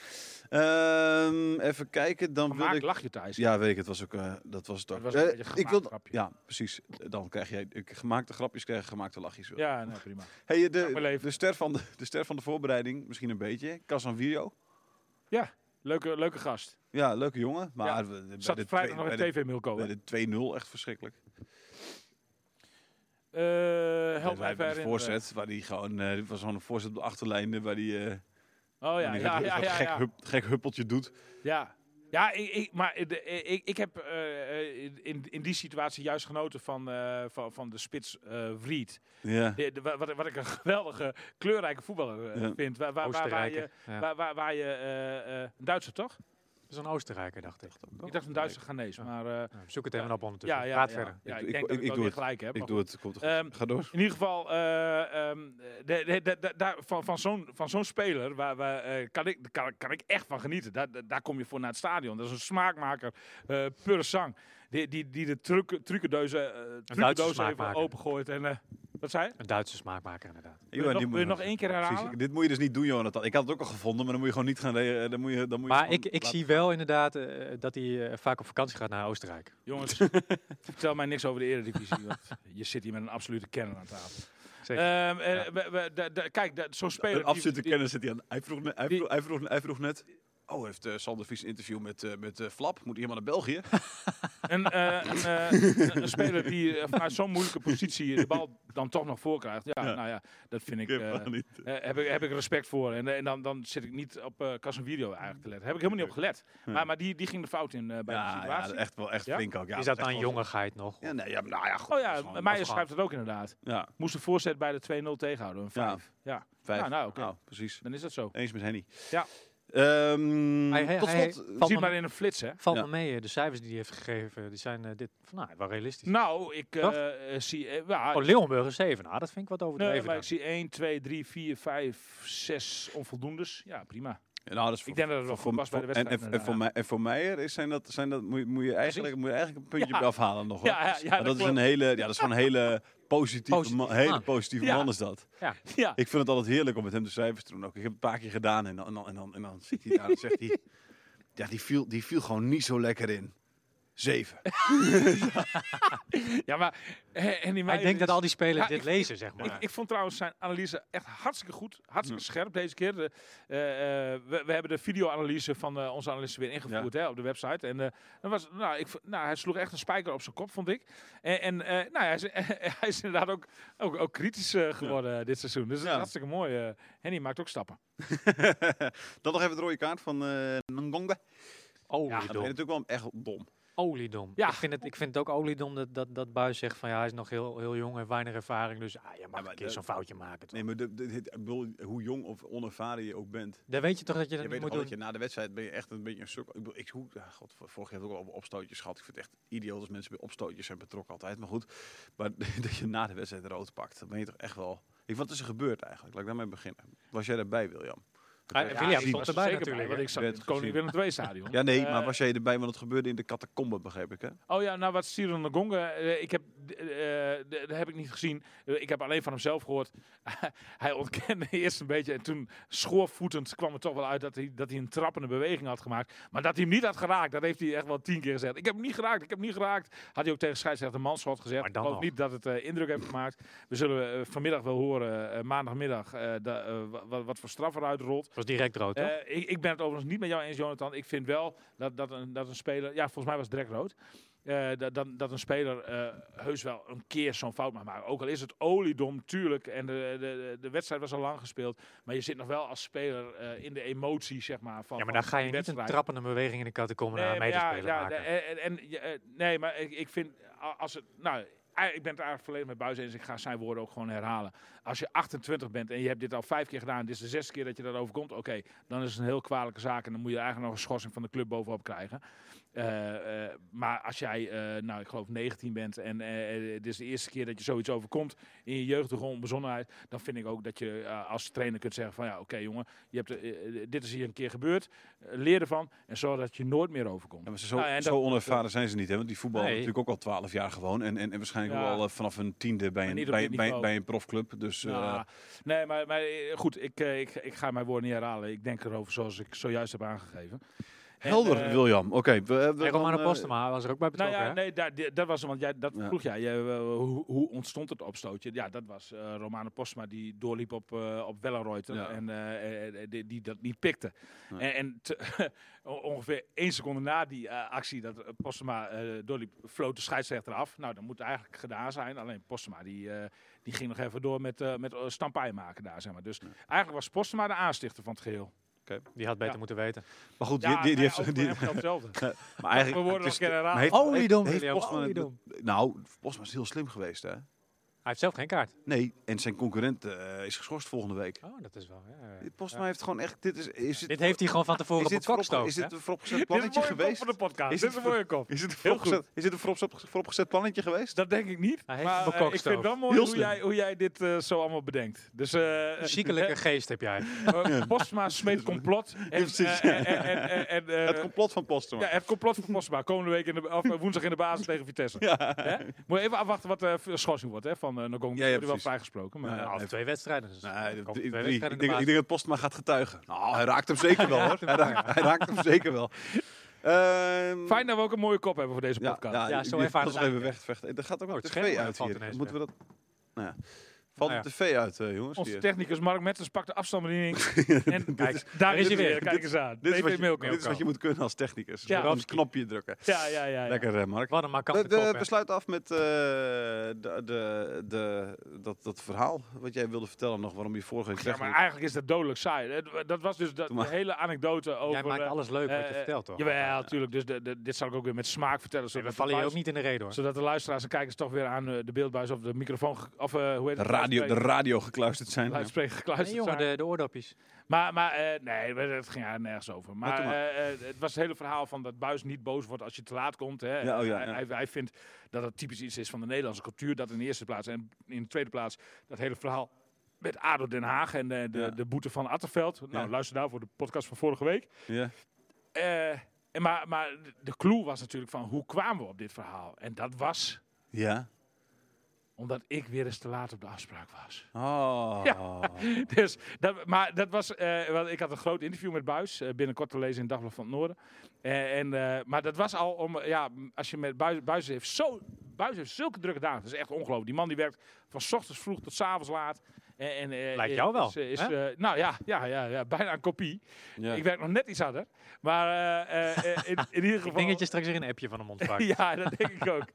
Speaker 2: Ehm, even kijken, dan wil
Speaker 4: Gemaakt
Speaker 2: ik...
Speaker 4: lach je thuis.
Speaker 2: Ja, weet ik, het was ook, eh, dat was het ook.
Speaker 4: Het was een
Speaker 2: Eh,
Speaker 4: beetje een
Speaker 2: ik wil,
Speaker 4: gemaakt grapje.
Speaker 2: Ja, precies. Eh, Dan krijg jij ik- gemaakte grapjes, krijg je gemaakte lachjes. wel.
Speaker 4: ja nou, prima.
Speaker 2: Hey, eh,
Speaker 4: Dank maar
Speaker 2: de,
Speaker 4: leven.
Speaker 2: de, ster van de, de ster van de voorbereiding, misschien een beetje, Casan Viro.
Speaker 4: Leuke, leuke gast.
Speaker 2: Ja, leuke jongen, maar
Speaker 4: Ja,
Speaker 2: we- bij
Speaker 4: Zat
Speaker 2: de
Speaker 4: vrijdag
Speaker 2: twee-
Speaker 4: nog in
Speaker 2: bij de-
Speaker 4: TV Milko.
Speaker 2: bij de 2-0 echt verschrikkelijk.
Speaker 4: Eh,
Speaker 2: wij
Speaker 4: help mij
Speaker 2: hebben
Speaker 4: verder.
Speaker 2: een voorzet waar die gewoon, eh, dit was gewoon een voorzet op de achterlijn eh, waar die, eh,
Speaker 4: Oh
Speaker 2: waar
Speaker 4: ja,
Speaker 2: die
Speaker 4: ja,
Speaker 2: dat-
Speaker 4: ja,
Speaker 2: dat
Speaker 4: ja,
Speaker 2: gek,
Speaker 4: ja.
Speaker 2: hup- gek huppeltje doet.
Speaker 4: Ja, ja ik, ik, maar de, ik, ik heb eh, eh, in, in die situatie juist genoten van, eh, van, van de spits eh Vriet.
Speaker 2: Ja.
Speaker 4: De- de- wa- wat, ik- wat ik een geweldige, kleurrijke voetballer eh,
Speaker 2: Ja.
Speaker 4: vind. Waar, waar, waar, waar je,
Speaker 3: Oostenrijker. Ja. Dat
Speaker 4: waar, waar, waar je eh, eh, een Duitser toch?
Speaker 3: is een Oostenrijker, dacht ik.
Speaker 4: Ik dacht een Duitse Ghanese,
Speaker 3: Ja.
Speaker 4: maar... eh,
Speaker 3: Nou, zoek het even op ondertussen.
Speaker 4: ja, ja,
Speaker 3: Praat
Speaker 4: ja,
Speaker 3: verder.
Speaker 4: Ja,
Speaker 2: Ik-
Speaker 4: ik,
Speaker 2: ik-
Speaker 4: denk
Speaker 2: ik-
Speaker 4: dat ik,
Speaker 2: ik
Speaker 4: wel
Speaker 2: doe
Speaker 4: weer
Speaker 2: het.
Speaker 4: gelijk heb.
Speaker 2: Ik
Speaker 4: maar
Speaker 2: doe het, komt goed.
Speaker 4: Ehm,
Speaker 2: Ga door.
Speaker 4: In ieder geval, eh, ehm, de, de, de- de- daar- van, van zo'n van zo'n speler waar, waar, eh, kan, ik, kan, kan ik echt van genieten. Daar, daar- daar kom je voor naar het stadion. Dat is een smaakmaker, eh pure sang. Die, die, die de truc, trucendozen eh trucendozen even
Speaker 3: smaakmaker.
Speaker 4: opengooit. En, eh, wat zei je?
Speaker 3: Een Duitse smaakmaker, inderdaad.
Speaker 4: Wil je,
Speaker 2: Johan,
Speaker 4: nog,
Speaker 2: die
Speaker 4: wil
Speaker 2: moet
Speaker 4: je nog één keer herhalen?
Speaker 2: Precies. Dit moet je dus niet doen, Jonathan. Ik had het ook al gevonden, maar dan moet je gewoon niet gaan... re- eh, Dan moet je, dan moet je
Speaker 3: Maar
Speaker 2: gewoon
Speaker 3: ik, ik
Speaker 2: laten-
Speaker 3: zie wel inderdaad eh, dat hij eh, vaak op vakantie gaat naar Oostenrijk. <laughs>
Speaker 4: Jongens, vertel mij niks over de eredivisie. Want je zit hier met een absolute kenner aan tafel.
Speaker 3: Zeker.
Speaker 4: Ehm, eh,
Speaker 3: Ja.
Speaker 4: we- we- da- da- kijk, da- zo'n speler...
Speaker 2: Een
Speaker 4: die-
Speaker 2: absolute
Speaker 4: die-
Speaker 2: kennis zit hij aan. Hij vroeg, ne- hij
Speaker 4: die-
Speaker 2: vroeg, hij vroeg, hij vroeg net... Oh, heeft eh, Sander Vies een interview met, eh, met eh, Flap? Moet hij helemaal naar
Speaker 4: <laughs>
Speaker 2: België?
Speaker 4: Een, eh, een, eh, een- een speler die eh, vanuit zo'n moeilijke positie de bal dan toch nog voor krijgt. Ja, nou ja, dat vind ik.
Speaker 2: Ik heb
Speaker 4: eh,
Speaker 2: helemaal niet.
Speaker 4: eh, heb, ik, heb ik respect voor. En, eh, en dan, dan zit ik niet op eh Casemiro eigenlijk te letten. Heb ik helemaal niet op gelet. Maar, maar die, die ging de fout in eh, bij de
Speaker 2: Ja, ja,
Speaker 4: situatie.
Speaker 2: echt wel echt
Speaker 4: Ja?
Speaker 2: flink ook. Ja,
Speaker 3: is dat
Speaker 2: echt
Speaker 3: dan
Speaker 2: wel-
Speaker 3: jongigheid nog?
Speaker 2: Ja, nee, ja, maar nou ja, goed.
Speaker 4: Oh
Speaker 2: dat
Speaker 4: ja,
Speaker 2: is gewoon-
Speaker 4: Meijer
Speaker 3: afgaan.
Speaker 4: schrijft het ook inderdaad.
Speaker 2: Ja,
Speaker 4: Moest de voorzet bij de 2-0 tegenhouden. Een
Speaker 2: Ja.
Speaker 4: vijf. Ja.
Speaker 2: vijf.
Speaker 4: Nou, nou, oké.
Speaker 2: precies.
Speaker 4: dan is dat zo.
Speaker 2: Eens met Henny.
Speaker 4: Ja.
Speaker 2: Ehm,
Speaker 3: Hij- hij-
Speaker 2: tot
Speaker 3: hij-
Speaker 2: slot,
Speaker 3: valt
Speaker 4: Ziet
Speaker 3: me-
Speaker 4: maar in een flits, hè?
Speaker 3: Valt
Speaker 2: Ja.
Speaker 3: me mee, eh, de cijfers die hij heeft gegeven, die zijn eh, dit, nou, wel realistisch.
Speaker 4: Nou, ik eh,
Speaker 3: Toch?
Speaker 4: eh, zie. eh, ja,
Speaker 3: oh, Leeuwenburg is 7. Nou, dat vind ik wat
Speaker 4: nee,
Speaker 3: overdreven.
Speaker 4: maar
Speaker 3: dan.
Speaker 4: ik zie 1, 2, 3, 4, 5, 6 onvoldoendes. Ja, prima.
Speaker 2: eh, nou, dat is voor,
Speaker 4: Ik denk dat het wel
Speaker 2: voor,
Speaker 4: goed past bij de
Speaker 2: voor- en,
Speaker 4: wedstrijd.
Speaker 2: en, en voor mij, en voor Meijer is, zijn dat, zijn dat, moet, je- moet, je eigenlijk, moet je eigenlijk een puntje
Speaker 4: <laughs> Ja.
Speaker 2: bij afhalen nog. hoor. Dus-
Speaker 4: Ja, ja, ja,
Speaker 2: Maar
Speaker 4: dat
Speaker 2: dat, is
Speaker 4: klopt. Ah.
Speaker 2: een hele, ja, dat is gewoon een hele positieve,
Speaker 3: Positieve
Speaker 2: man, hele
Speaker 3: man.
Speaker 2: positieve
Speaker 4: Ja.
Speaker 2: man is dat.
Speaker 4: <laughs> Ja.
Speaker 2: Ik vind het altijd heerlijk om met hem de cijfers te doen. Ook. Ik heb het een paar keer gedaan en dan, en dan, en dan, en dan zit hij daar en zegt
Speaker 4: <laughs>
Speaker 2: hij... Ja, die viel, die viel gewoon niet zo lekker in.
Speaker 4: <laughs>
Speaker 2: Zeven.
Speaker 4: ja, maar... hè, En die
Speaker 3: Maar ik denk dat al die spelers
Speaker 4: dus- Ja,
Speaker 3: dit
Speaker 4: ik-
Speaker 3: lezen,
Speaker 4: <laughs>
Speaker 3: zeg maar.
Speaker 4: Ik, ik vond trouwens zijn analyse echt hartstikke goed. Hartstikke scherp deze keer. De, eh, eh, we, we hebben de videoanalyse van eh, onze analisten weer ingevoerd hè, op de website. En eh, dat was, nou, ik, vond- nou, hij sloeg echt een spijker op zijn kop, vond ik. En, en eh, nou, hij, is, <laughs> hij is inderdaad ook, ook, ook kritisch eh, geworden dit seizoen. Dus dat is
Speaker 2: Ja.
Speaker 4: hartstikke mooi. eh. Henny maakt ook stappen.
Speaker 2: Dan nog even de rode kaart van eh Ngonga. Ja, dat is
Speaker 3: Oliedom.
Speaker 2: natuurlijk wel echt dom.
Speaker 3: oliedom.
Speaker 4: Ja.
Speaker 3: Ik, vind het, ik vind het ook oliedom dat, dat, dat Buis zegt van ja, hij is nog heel, heel jong en weinig ervaring. Dus ah, je mag
Speaker 2: maar
Speaker 3: een keer
Speaker 2: dat-
Speaker 3: zo'n foutje maken. toch?
Speaker 2: Nee, maar de, de- dit- ik bedoel, hoe jong of onervaren je ook bent.
Speaker 3: Dan weet je toch dat je
Speaker 2: Je
Speaker 3: dat niet
Speaker 2: weet
Speaker 3: moet
Speaker 2: toch wel dat
Speaker 3: doen.
Speaker 2: je na de wedstrijd ben je echt een beetje een sukkel. Ik bedoel, ik, hoe, ja, god, vorig jaar heb ik ook al opstootjes gehad. Ik vind het echt idioot als mensen bij opstootjes zijn betrokken altijd. Maar goed, maar <laughs> dat je na de wedstrijd rood pakt, dan ben je toch echt wel... Ik, wat is er gebeurd eigenlijk? Laat ik daarmee beginnen. Was jij erbij, William?
Speaker 3: Ah,
Speaker 2: Ja,
Speaker 3: William
Speaker 4: ik
Speaker 3: stond
Speaker 4: was er
Speaker 3: erbij
Speaker 4: zeker
Speaker 3: natuurlijk,
Speaker 4: want
Speaker 3: hè?
Speaker 4: ik zat in
Speaker 2: Werd
Speaker 4: het Koning
Speaker 2: gezien.
Speaker 4: Willem II stadion.
Speaker 2: Ja, nee,
Speaker 4: Eh,
Speaker 2: maar was jij erbij? Want het gebeurde in de catacombe, begreep ik, hè?
Speaker 4: Oh ja, nou wat Cyril Ngonga, eh, ik heb, eh, eh, d- dat heb ik niet gezien. Eh, ik heb alleen van hemzelf gehoord. <laughs> hij ontkende eerst een beetje en toen schoorvoetend kwam het toch wel uit dat hij, dat hij een trappende beweging had gemaakt. Maar dat hij hem niet had geraakt, dat heeft hij echt wel tien keer gezegd. Ik heb hem niet geraakt, ik heb hem niet geraakt. Had hij ook tegen scheidsrechter Manschot gezegd.
Speaker 3: Maar
Speaker 4: Ik
Speaker 3: dan
Speaker 4: geloof
Speaker 3: nog.
Speaker 4: niet dat het eh, indruk heeft gemaakt. We zullen eh, vanmiddag wel horen, eh, maandagmiddag, eh, da- eh, wa- wa- wat voor straf eruit rolt.
Speaker 3: Het was direct rood, toch?
Speaker 4: Eh, ik, ik ben het overigens niet met jou eens, Jonathan. Ik vind wel dat, dat, een, dat een speler. Ja, volgens mij was het direct rood. eh, dat, dat, dat een speler eh, heus wel een keer zo'n fout mag maken. Ook al is het oliedom, tuurlijk. En de, de, de wedstrijd was al lang gespeeld. Maar je zit nog wel als speler eh, in de emotie, zeg maar. Van,
Speaker 3: ja, maar
Speaker 4: van
Speaker 3: daar ga je
Speaker 4: die
Speaker 3: niet een
Speaker 4: wedstrijd.
Speaker 3: trappende beweging in de catacombe naar een
Speaker 4: Nee, maar
Speaker 3: medespeler maken.
Speaker 4: de- en, en- ja, eh, nee, maar ik, ik vind a- als het. Nou, ei- ik ben het eigenlijk volledig met Buis eens. Ik ga zijn woorden ook gewoon herhalen. Als je 28 bent en je hebt dit al vijf keer gedaan, dit is de zesde keer dat je dat overkomt. Oké, dan is het een heel kwalijke zaak en dan moet je eigenlijk nog een schorsing van de club bovenop krijgen. Eh, eh, maar als jij, eh, nou, ik geloof 19 bent en eh, eh, dit is de eerste keer dat je zoiets overkomt in je jeugdige onbezonnenheid, dan vind ik ook dat je eh, als trainer kunt zeggen van ja, oké jongen, je hebt, eh, eh, dit is hier een keer gebeurd, eh, leer ervan en zorg dat het je nooit meer overkomt.
Speaker 2: Ja, maar ze zo,
Speaker 4: Nou, en
Speaker 2: zo
Speaker 4: dat-
Speaker 2: onervaren zijn ze niet, hè? Want die voetballen
Speaker 3: Nee.
Speaker 2: natuurlijk ook al twaalf jaar gewoon. En, en, en waarschijnlijk
Speaker 4: Ja.
Speaker 2: ook al eh, vanaf hun tiende bij
Speaker 4: Maar
Speaker 2: een,
Speaker 4: niet op
Speaker 2: bij,
Speaker 4: dit
Speaker 2: bij,
Speaker 4: niveau.
Speaker 2: bij een profclub. Dus eh,
Speaker 4: Nou, nee, maar, maar eh, goed, ik, eh, ik, ik ga mijn woorden niet herhalen. Ik denk erover zoals ik zojuist heb aangegeven.
Speaker 2: Helder,
Speaker 4: eh,
Speaker 2: William. Oké. we- we-
Speaker 3: En Romano
Speaker 2: dan, eh,
Speaker 3: Postema was er ook bij
Speaker 4: Nou
Speaker 3: betrokken.
Speaker 4: ja,
Speaker 3: hè?
Speaker 4: nee, daar, die- dat was hem, want jij, dat
Speaker 2: Ja.
Speaker 4: vroeg jij. jij, eh, hoe, hoe ontstond het opstootje? Ja, dat was eh Romano Postma die doorliep op, eh op Wellenreuter
Speaker 2: Ja.
Speaker 4: en eh, eh, eh, die, die dat niet pikte.
Speaker 2: Nee.
Speaker 4: En, en te- <laughs> on- ongeveer één seconde na die eh, actie dat eh, Postma eh, doorliep, floot de scheidsrechter af. Nou, dat moet eigenlijk gedaan zijn. Alleen Postma die, eh, die ging nog even door met, eh met eh, stampij maken daar, zeg maar. Dus eigenlijk was Postma de aanstichter van het geheel.
Speaker 3: Die had beter
Speaker 4: Ja.
Speaker 3: moeten weten.
Speaker 2: Maar goed, die,
Speaker 4: Ja,
Speaker 2: die, die
Speaker 4: nou ja, ook
Speaker 2: heeft... Die,
Speaker 4: voor hem geldt
Speaker 2: <laughs>
Speaker 4: hetzelfde.
Speaker 2: maar eigenlijk...
Speaker 4: We worden
Speaker 2: het
Speaker 4: nog
Speaker 2: is-
Speaker 4: een keer herhaald.
Speaker 2: maar heeft-
Speaker 3: Holy
Speaker 2: heeft-
Speaker 3: dom,
Speaker 2: heeft
Speaker 3: William,
Speaker 2: Postma
Speaker 3: holy
Speaker 2: het-
Speaker 3: dom.
Speaker 2: Nou, Postma is heel slim geweest, hè?
Speaker 3: Hij heeft zelf geen kaart.
Speaker 2: Nee, en zijn concurrent eh, is geschorst volgende week.
Speaker 3: Oh, dat is wel. ja, ja.
Speaker 2: Postma heeft gewoon echt... Dit is, is het,
Speaker 3: Dit heeft hij gewoon van tevoren
Speaker 2: is
Speaker 3: op
Speaker 2: dit
Speaker 3: het
Speaker 2: voorop-
Speaker 3: kok gestoken,
Speaker 2: Is
Speaker 3: hè?
Speaker 2: dit een vooropgezet
Speaker 4: Dit is een
Speaker 2: plannetje
Speaker 4: mooie kop
Speaker 2: geweest?
Speaker 4: voor de podcast.
Speaker 2: Is
Speaker 4: Dit
Speaker 2: dit
Speaker 4: is een mooie kop.
Speaker 2: Is dit een
Speaker 4: Heel goed.
Speaker 2: vooropgezet, is dit een vooropgezet, vooropgezet plannetje geweest?
Speaker 4: Dus Dat denk ik niet.
Speaker 3: Hij heeft
Speaker 4: maar
Speaker 3: het
Speaker 4: eh, ik
Speaker 3: bekokstoofd.
Speaker 4: vind het wel mooi
Speaker 2: Heel
Speaker 4: hoe
Speaker 2: slim.
Speaker 4: jij, hoe jij dit eh, zo allemaal bedenkt. Dus eh, eh,
Speaker 3: Ziekelijke geest heb jij.
Speaker 4: eh, eh, Postma smeet complot. En,
Speaker 2: precies.
Speaker 4: eh, en- en- en- en, eh,
Speaker 2: het complot van Postma.
Speaker 3: eh,
Speaker 4: ja, het complot van Postma. Komende week in de, of, eh, woensdag in de basis tegen Vitesse. Hè? Moet je even afwachten wat de schorsing wordt hè, van eh Nogong.
Speaker 2: Ja,
Speaker 4: Ja,
Speaker 2: ja,
Speaker 4: wel
Speaker 2: precies.
Speaker 4: vrijgesproken. Maar,
Speaker 2: Ja, ja.
Speaker 4: eh,
Speaker 3: Of twee wedstrijden. Dus
Speaker 2: Nee,
Speaker 3: er
Speaker 2: dat-
Speaker 3: komen
Speaker 2: drie-
Speaker 3: twee
Speaker 2: drie.
Speaker 3: wedstrijden
Speaker 2: ik,
Speaker 3: in
Speaker 2: denk, ik
Speaker 3: de
Speaker 2: denk dat Postma gaat getuigen. Nou, hij
Speaker 3: <laughs>
Speaker 2: raakt hem zeker wel hoor. Hij raakt, hij raakt hem zeker wel. Ehm,
Speaker 4: Fijn dat we ook een mooie kop hebben voor deze
Speaker 2: Ja,
Speaker 4: podcast.
Speaker 2: ja,
Speaker 3: Ja,
Speaker 2: die-
Speaker 3: zo
Speaker 2: die-
Speaker 3: ervaren
Speaker 2: dat is
Speaker 3: we
Speaker 2: even
Speaker 3: het
Speaker 2: wegvechten. Er gaat ook
Speaker 3: Oh,
Speaker 2: nog tv
Speaker 3: het scherm
Speaker 2: uit
Speaker 3: valt
Speaker 2: hier.
Speaker 3: ineens
Speaker 2: Moeten we dat... Nou ja. Valt
Speaker 3: Nou ja.
Speaker 2: de tv uit, eh, jongens.
Speaker 4: Onze
Speaker 2: hier.
Speaker 4: technicus Mark Mettens pakt de
Speaker 2: <laughs>
Speaker 4: afstandsbediening. en
Speaker 3: Kijk,
Speaker 4: kijk, daar is
Speaker 3: dit
Speaker 4: hij
Speaker 3: is-
Speaker 4: weer. Kijk eens aan.
Speaker 2: Dit is, wat
Speaker 4: TV
Speaker 2: je,
Speaker 4: Milko.
Speaker 2: dit is wat je moet kunnen als technicus. Dus
Speaker 4: Ja.
Speaker 2: op een knopje drukken.
Speaker 4: Ja, ja, ja. ja.
Speaker 2: Lekker, eh, Mark.
Speaker 3: Wat een
Speaker 2: We,
Speaker 3: markante
Speaker 2: we-
Speaker 3: kop, hè.
Speaker 2: we sluiten af met eh, de, de, de, dat, dat verhaal wat jij wilde vertellen nog. Waarom je vorige week
Speaker 4: Ja,
Speaker 2: techniek-
Speaker 4: maar eigenlijk is dat dodelijk saai. Het- Dat was dus dat,
Speaker 2: Doe maar.
Speaker 4: de hele anekdote over...
Speaker 3: Jij maakt
Speaker 4: eh,
Speaker 3: alles leuk wat je
Speaker 4: eh,
Speaker 3: vertelt, toch?
Speaker 4: Jawel, natuurlijk. Dus de, de- dit zal ik ook weer met smaak vertellen.
Speaker 3: Nee, We
Speaker 4: Zodat de
Speaker 3: vallen je ook
Speaker 4: luister-
Speaker 3: niet in de reden, hoor.
Speaker 4: Zodat de luisteraars en kijkers toch weer aan eh, de beeldbuis of de microfoon... ge- Of eh, hoe heet
Speaker 2: de, radio,
Speaker 4: het?
Speaker 2: de
Speaker 4: Luidspreker-
Speaker 2: radio gekluisterd zijn. Ja.
Speaker 4: Luidspreker
Speaker 3: Nee,
Speaker 4: gekluisterd
Speaker 3: jongen,
Speaker 4: zijn.
Speaker 3: de, de oordopjes.
Speaker 4: Maar, maar eh, nee, maar het ging er nergens over. Maar,
Speaker 2: doe maar.
Speaker 4: eh, eh, het was het hele verhaal van dat Buis niet boos wordt als je te laat komt. Hè.
Speaker 2: Ja, oh ja,
Speaker 4: hij,
Speaker 2: ja.
Speaker 4: hij- hij vindt dat het typisch iets is van de Nederlandse cultuur. Dat in de eerste plaats. En in de tweede plaats dat hele verhaal met ADO Den Haag en de, de,
Speaker 2: Ja.
Speaker 4: de boete van Attenveld. Nou,
Speaker 2: Ja.
Speaker 4: luister daarvoor de podcast van vorige week.
Speaker 2: Ja.
Speaker 4: Eh, en maar, maar de clue was natuurlijk van hoe kwamen we op dit verhaal? En dat was
Speaker 2: ja.
Speaker 4: omdat ik weer eens te laat op de afspraak was.
Speaker 2: Oh.
Speaker 4: <laughs> Dus dat, maar dat was, eh, wel, ik had een groot interview met Buis, eh, binnenkort te lezen in Dagblad van het Noorden. Eh, en, eh, maar dat was al om, eh, ja, m- als je met Buis, Buis heeft zo, Buis heeft zulke drukke dagen. Dat is echt ongelooflijk. Die man die werkt van 's ochtends vroeg tot 's avonds laat. En, en, eh,
Speaker 3: Lijkt
Speaker 4: is-
Speaker 3: jou wel,
Speaker 4: Is, is,
Speaker 3: hè?
Speaker 4: eh, nou ja, ja, ja, ja, bijna een kopie.
Speaker 2: Ja.
Speaker 4: Ik werk nog net iets harder. Maar eh, eh, eh, in, in ieder geval...
Speaker 3: Ik denk dat je straks weer een appje van
Speaker 2: <laughs>
Speaker 3: hem ontvangt.
Speaker 4: <laughs> Ja, dat denk ik ook.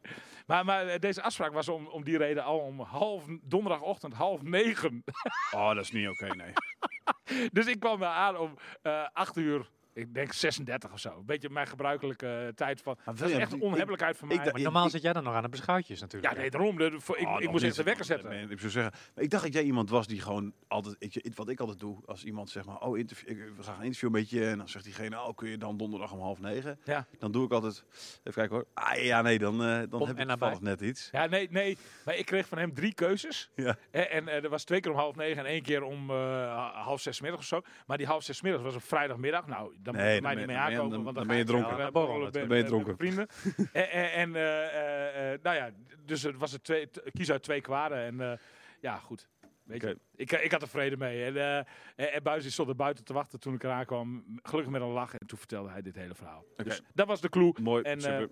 Speaker 4: Maar, maar eh, deze afspraak was om, om die reden al om half, donderdagochtend half negen.
Speaker 2: oh, dat is niet oké, nee.
Speaker 4: Dus ik kwam daar aan om eh 8 uur, ik denk 36 of zo. Een beetje mijn gebruikelijke eh, tijd van.
Speaker 2: Maar
Speaker 4: Dat is
Speaker 2: William,
Speaker 4: echt
Speaker 2: die-
Speaker 4: een onhebbelijkheid van mij.
Speaker 2: ik dacht-
Speaker 4: maar-
Speaker 3: Normaal zit jij dan nog aan de beschuitjes, natuurlijk.
Speaker 4: ja, nee, daarom. de- de- voor- ik
Speaker 2: Oh,
Speaker 4: ik
Speaker 2: nog
Speaker 4: moest
Speaker 2: niet.
Speaker 4: even de wekker zetten.
Speaker 2: Nee, ik zou zeggen, maar ik dacht dat jij iemand was die gewoon altijd, ik, ik- wat ik altijd doe, als iemand zegt maar, oh, interview, ik, we gaan een interview met je, en dan zegt diegene, oh, kun je dan donderdag om half negen?
Speaker 4: Ja.
Speaker 2: Dan doe ik altijd, even kijken hoor, ah ja, nee, dan, eh, dan
Speaker 3: Om
Speaker 2: heb ik
Speaker 3: en
Speaker 2: toevallig net iets.
Speaker 4: Ja, nee, nee. Maar ik kreeg van hem drie keuzes.
Speaker 2: Ja.
Speaker 4: Hè, En, eh, er was twee keer om half negen en één keer om eh, ha- half zes 's middags of zo. Maar die half zes 's middags was op vrijdagmiddag. Nou, dan
Speaker 2: Nee,
Speaker 4: moet je
Speaker 2: dan
Speaker 4: mij
Speaker 2: ben-
Speaker 4: niet mee
Speaker 2: dan ben je-
Speaker 4: aankomen.
Speaker 2: dan-
Speaker 4: want
Speaker 2: dan
Speaker 4: ga
Speaker 2: ben je
Speaker 4: ik
Speaker 2: dronken.
Speaker 4: wel, eh,
Speaker 3: Dan
Speaker 4: borrelen
Speaker 2: ben
Speaker 4: met-
Speaker 2: je
Speaker 4: met
Speaker 2: dronken. <laughs>
Speaker 4: Vrienden. en, en- en, eh, eh, eh, nou ja, dus het was het twee, t- kies uit twee kwaden. En eh, ja, goed. Weet je,
Speaker 2: Oké.
Speaker 4: ik, ik had er vrede mee. En, eh, en, en Buijs die stond er buiten te wachten toen ik eraan kwam. Gelukkig met een lach. En toen vertelde hij dit hele verhaal. Dus dat was de clue.
Speaker 2: Mooi,
Speaker 4: En, eh,
Speaker 2: super.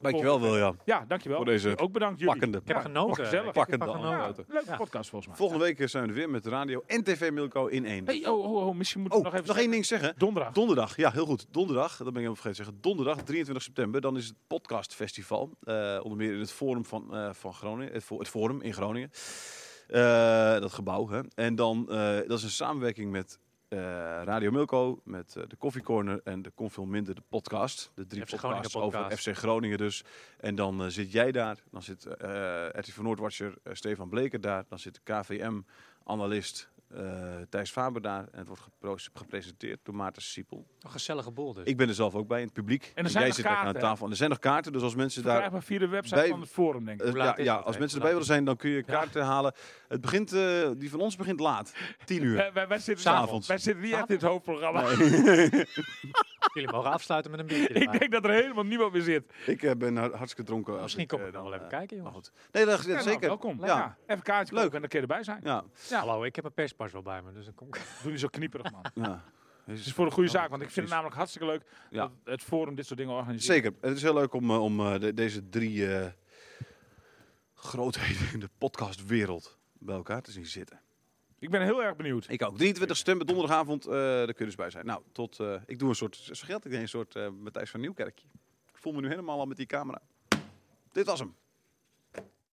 Speaker 2: Dankjewel William.
Speaker 4: Ja, dankjewel.
Speaker 2: Voor deze
Speaker 4: Ook bedankt jullie.
Speaker 2: Pakkende.
Speaker 3: Ik heb genoten.
Speaker 4: gezellig.
Speaker 3: Ik heb
Speaker 2: Pakkende
Speaker 3: ervan
Speaker 4: Ja,
Speaker 2: anekdote.
Speaker 4: leuke podcast volgens mij.
Speaker 2: Volgende week eh, zijn we er weer met radio en TV Milko in één.
Speaker 4: Hey, oh, oh, oh, misschien moeten
Speaker 2: oh,
Speaker 4: we nog even...
Speaker 2: één ding zeggen.
Speaker 4: Donderdag.
Speaker 2: Donderdag, ja, heel goed. Donderdag, dat ben ik helemaal vergeten te zeggen. Donderdag, 23 september, dan is het podcastfestival. Eh, onder meer in het Forum van, eh, van Groningen. Het, fo- het Forum in Groningen. Eh, dat gebouw, hè. En dan, eh, dat is een samenwerking met eh, Radio Milko, met eh, de Coffee Corner en de Kon Veel Minder, de podcast. De drie
Speaker 3: FC
Speaker 2: podcasts
Speaker 3: Groningen
Speaker 2: over
Speaker 3: podcast.
Speaker 2: FC Groningen dus. En dan eh, zit jij daar, dan zit eh RTV Noordwatcher eh, Stefan Bleker daar, dan zit KVM-analyst eh, Thijs Faber daar. En het wordt gepro- gepresenteerd door Maarten Siepel.
Speaker 3: Een gezellige boel, dus.
Speaker 2: Ik ben er zelf ook bij in het publiek.
Speaker 4: er zijn
Speaker 2: jij
Speaker 4: nog
Speaker 2: zit lekker aan
Speaker 4: kaarten,
Speaker 2: tafel. En er zijn nog kaarten, dus als mensen daar...
Speaker 4: Krijg maar via de website
Speaker 2: bij-
Speaker 4: van het forum, denk ik.
Speaker 2: eh,
Speaker 3: Hoe
Speaker 2: ja,
Speaker 3: laat is
Speaker 2: ja,
Speaker 3: dat,
Speaker 2: als
Speaker 3: hè?
Speaker 2: mensen
Speaker 3: Hoe
Speaker 2: erbij
Speaker 3: laat
Speaker 2: willen zijn, dan kun je kaarten halen. Het begint, eh, die van ons begint
Speaker 3: <laughs>
Speaker 2: laat. 10 uur.
Speaker 4: Wij, wij, wij zitten,
Speaker 2: S'avonds.
Speaker 4: wij zitten niet echt in het hoofdprogramma.
Speaker 3: Jullie mogen afsluiten met een
Speaker 2: <laughs>
Speaker 3: biertje
Speaker 4: <laughs> ik
Speaker 3: erbij.
Speaker 4: denk dat er helemaal niemand meer zit.
Speaker 2: Ik eh, ben har- hartstikke dronken. als
Speaker 3: Misschien
Speaker 2: ik,
Speaker 3: kom
Speaker 2: eh,
Speaker 3: ik nog
Speaker 2: dan,
Speaker 3: wel even
Speaker 2: eh,
Speaker 3: kijken,
Speaker 2: Maar
Speaker 3: jongens.
Speaker 2: goed. Nee, dat, dat
Speaker 4: Ja, nou,
Speaker 2: zeker.
Speaker 4: welkom.
Speaker 2: Ja.
Speaker 4: Ja. Even een kaartje
Speaker 2: Leuk.
Speaker 4: kopen en een keer erbij zijn.
Speaker 2: Ja.
Speaker 4: Ja.
Speaker 3: Hallo, ik heb een perspas wel bij me, dus dan kom ik. <laughs>
Speaker 4: Doe niet zo knieperig, man.
Speaker 2: ja.
Speaker 4: Het is voor een goede zaak, want ik vind het namelijk hartstikke leuk
Speaker 2: Ja.
Speaker 4: dat het forum dit soort dingen organiseert.
Speaker 2: Zeker. Het is heel leuk om, eh, om eh, de- deze drie eh, grootheden in de podcastwereld bij elkaar te zien zitten.
Speaker 4: Ik ben heel erg benieuwd.
Speaker 2: Ik ook. 23 september, donderdagavond, eh daar kun je dus bij zijn. Nou, tot, eh, ik doe een soort, zo geldt ik denk een soort eh Matthijs van Nieuwkerkje. Ik voel me nu helemaal al met die camera. Dit was hem.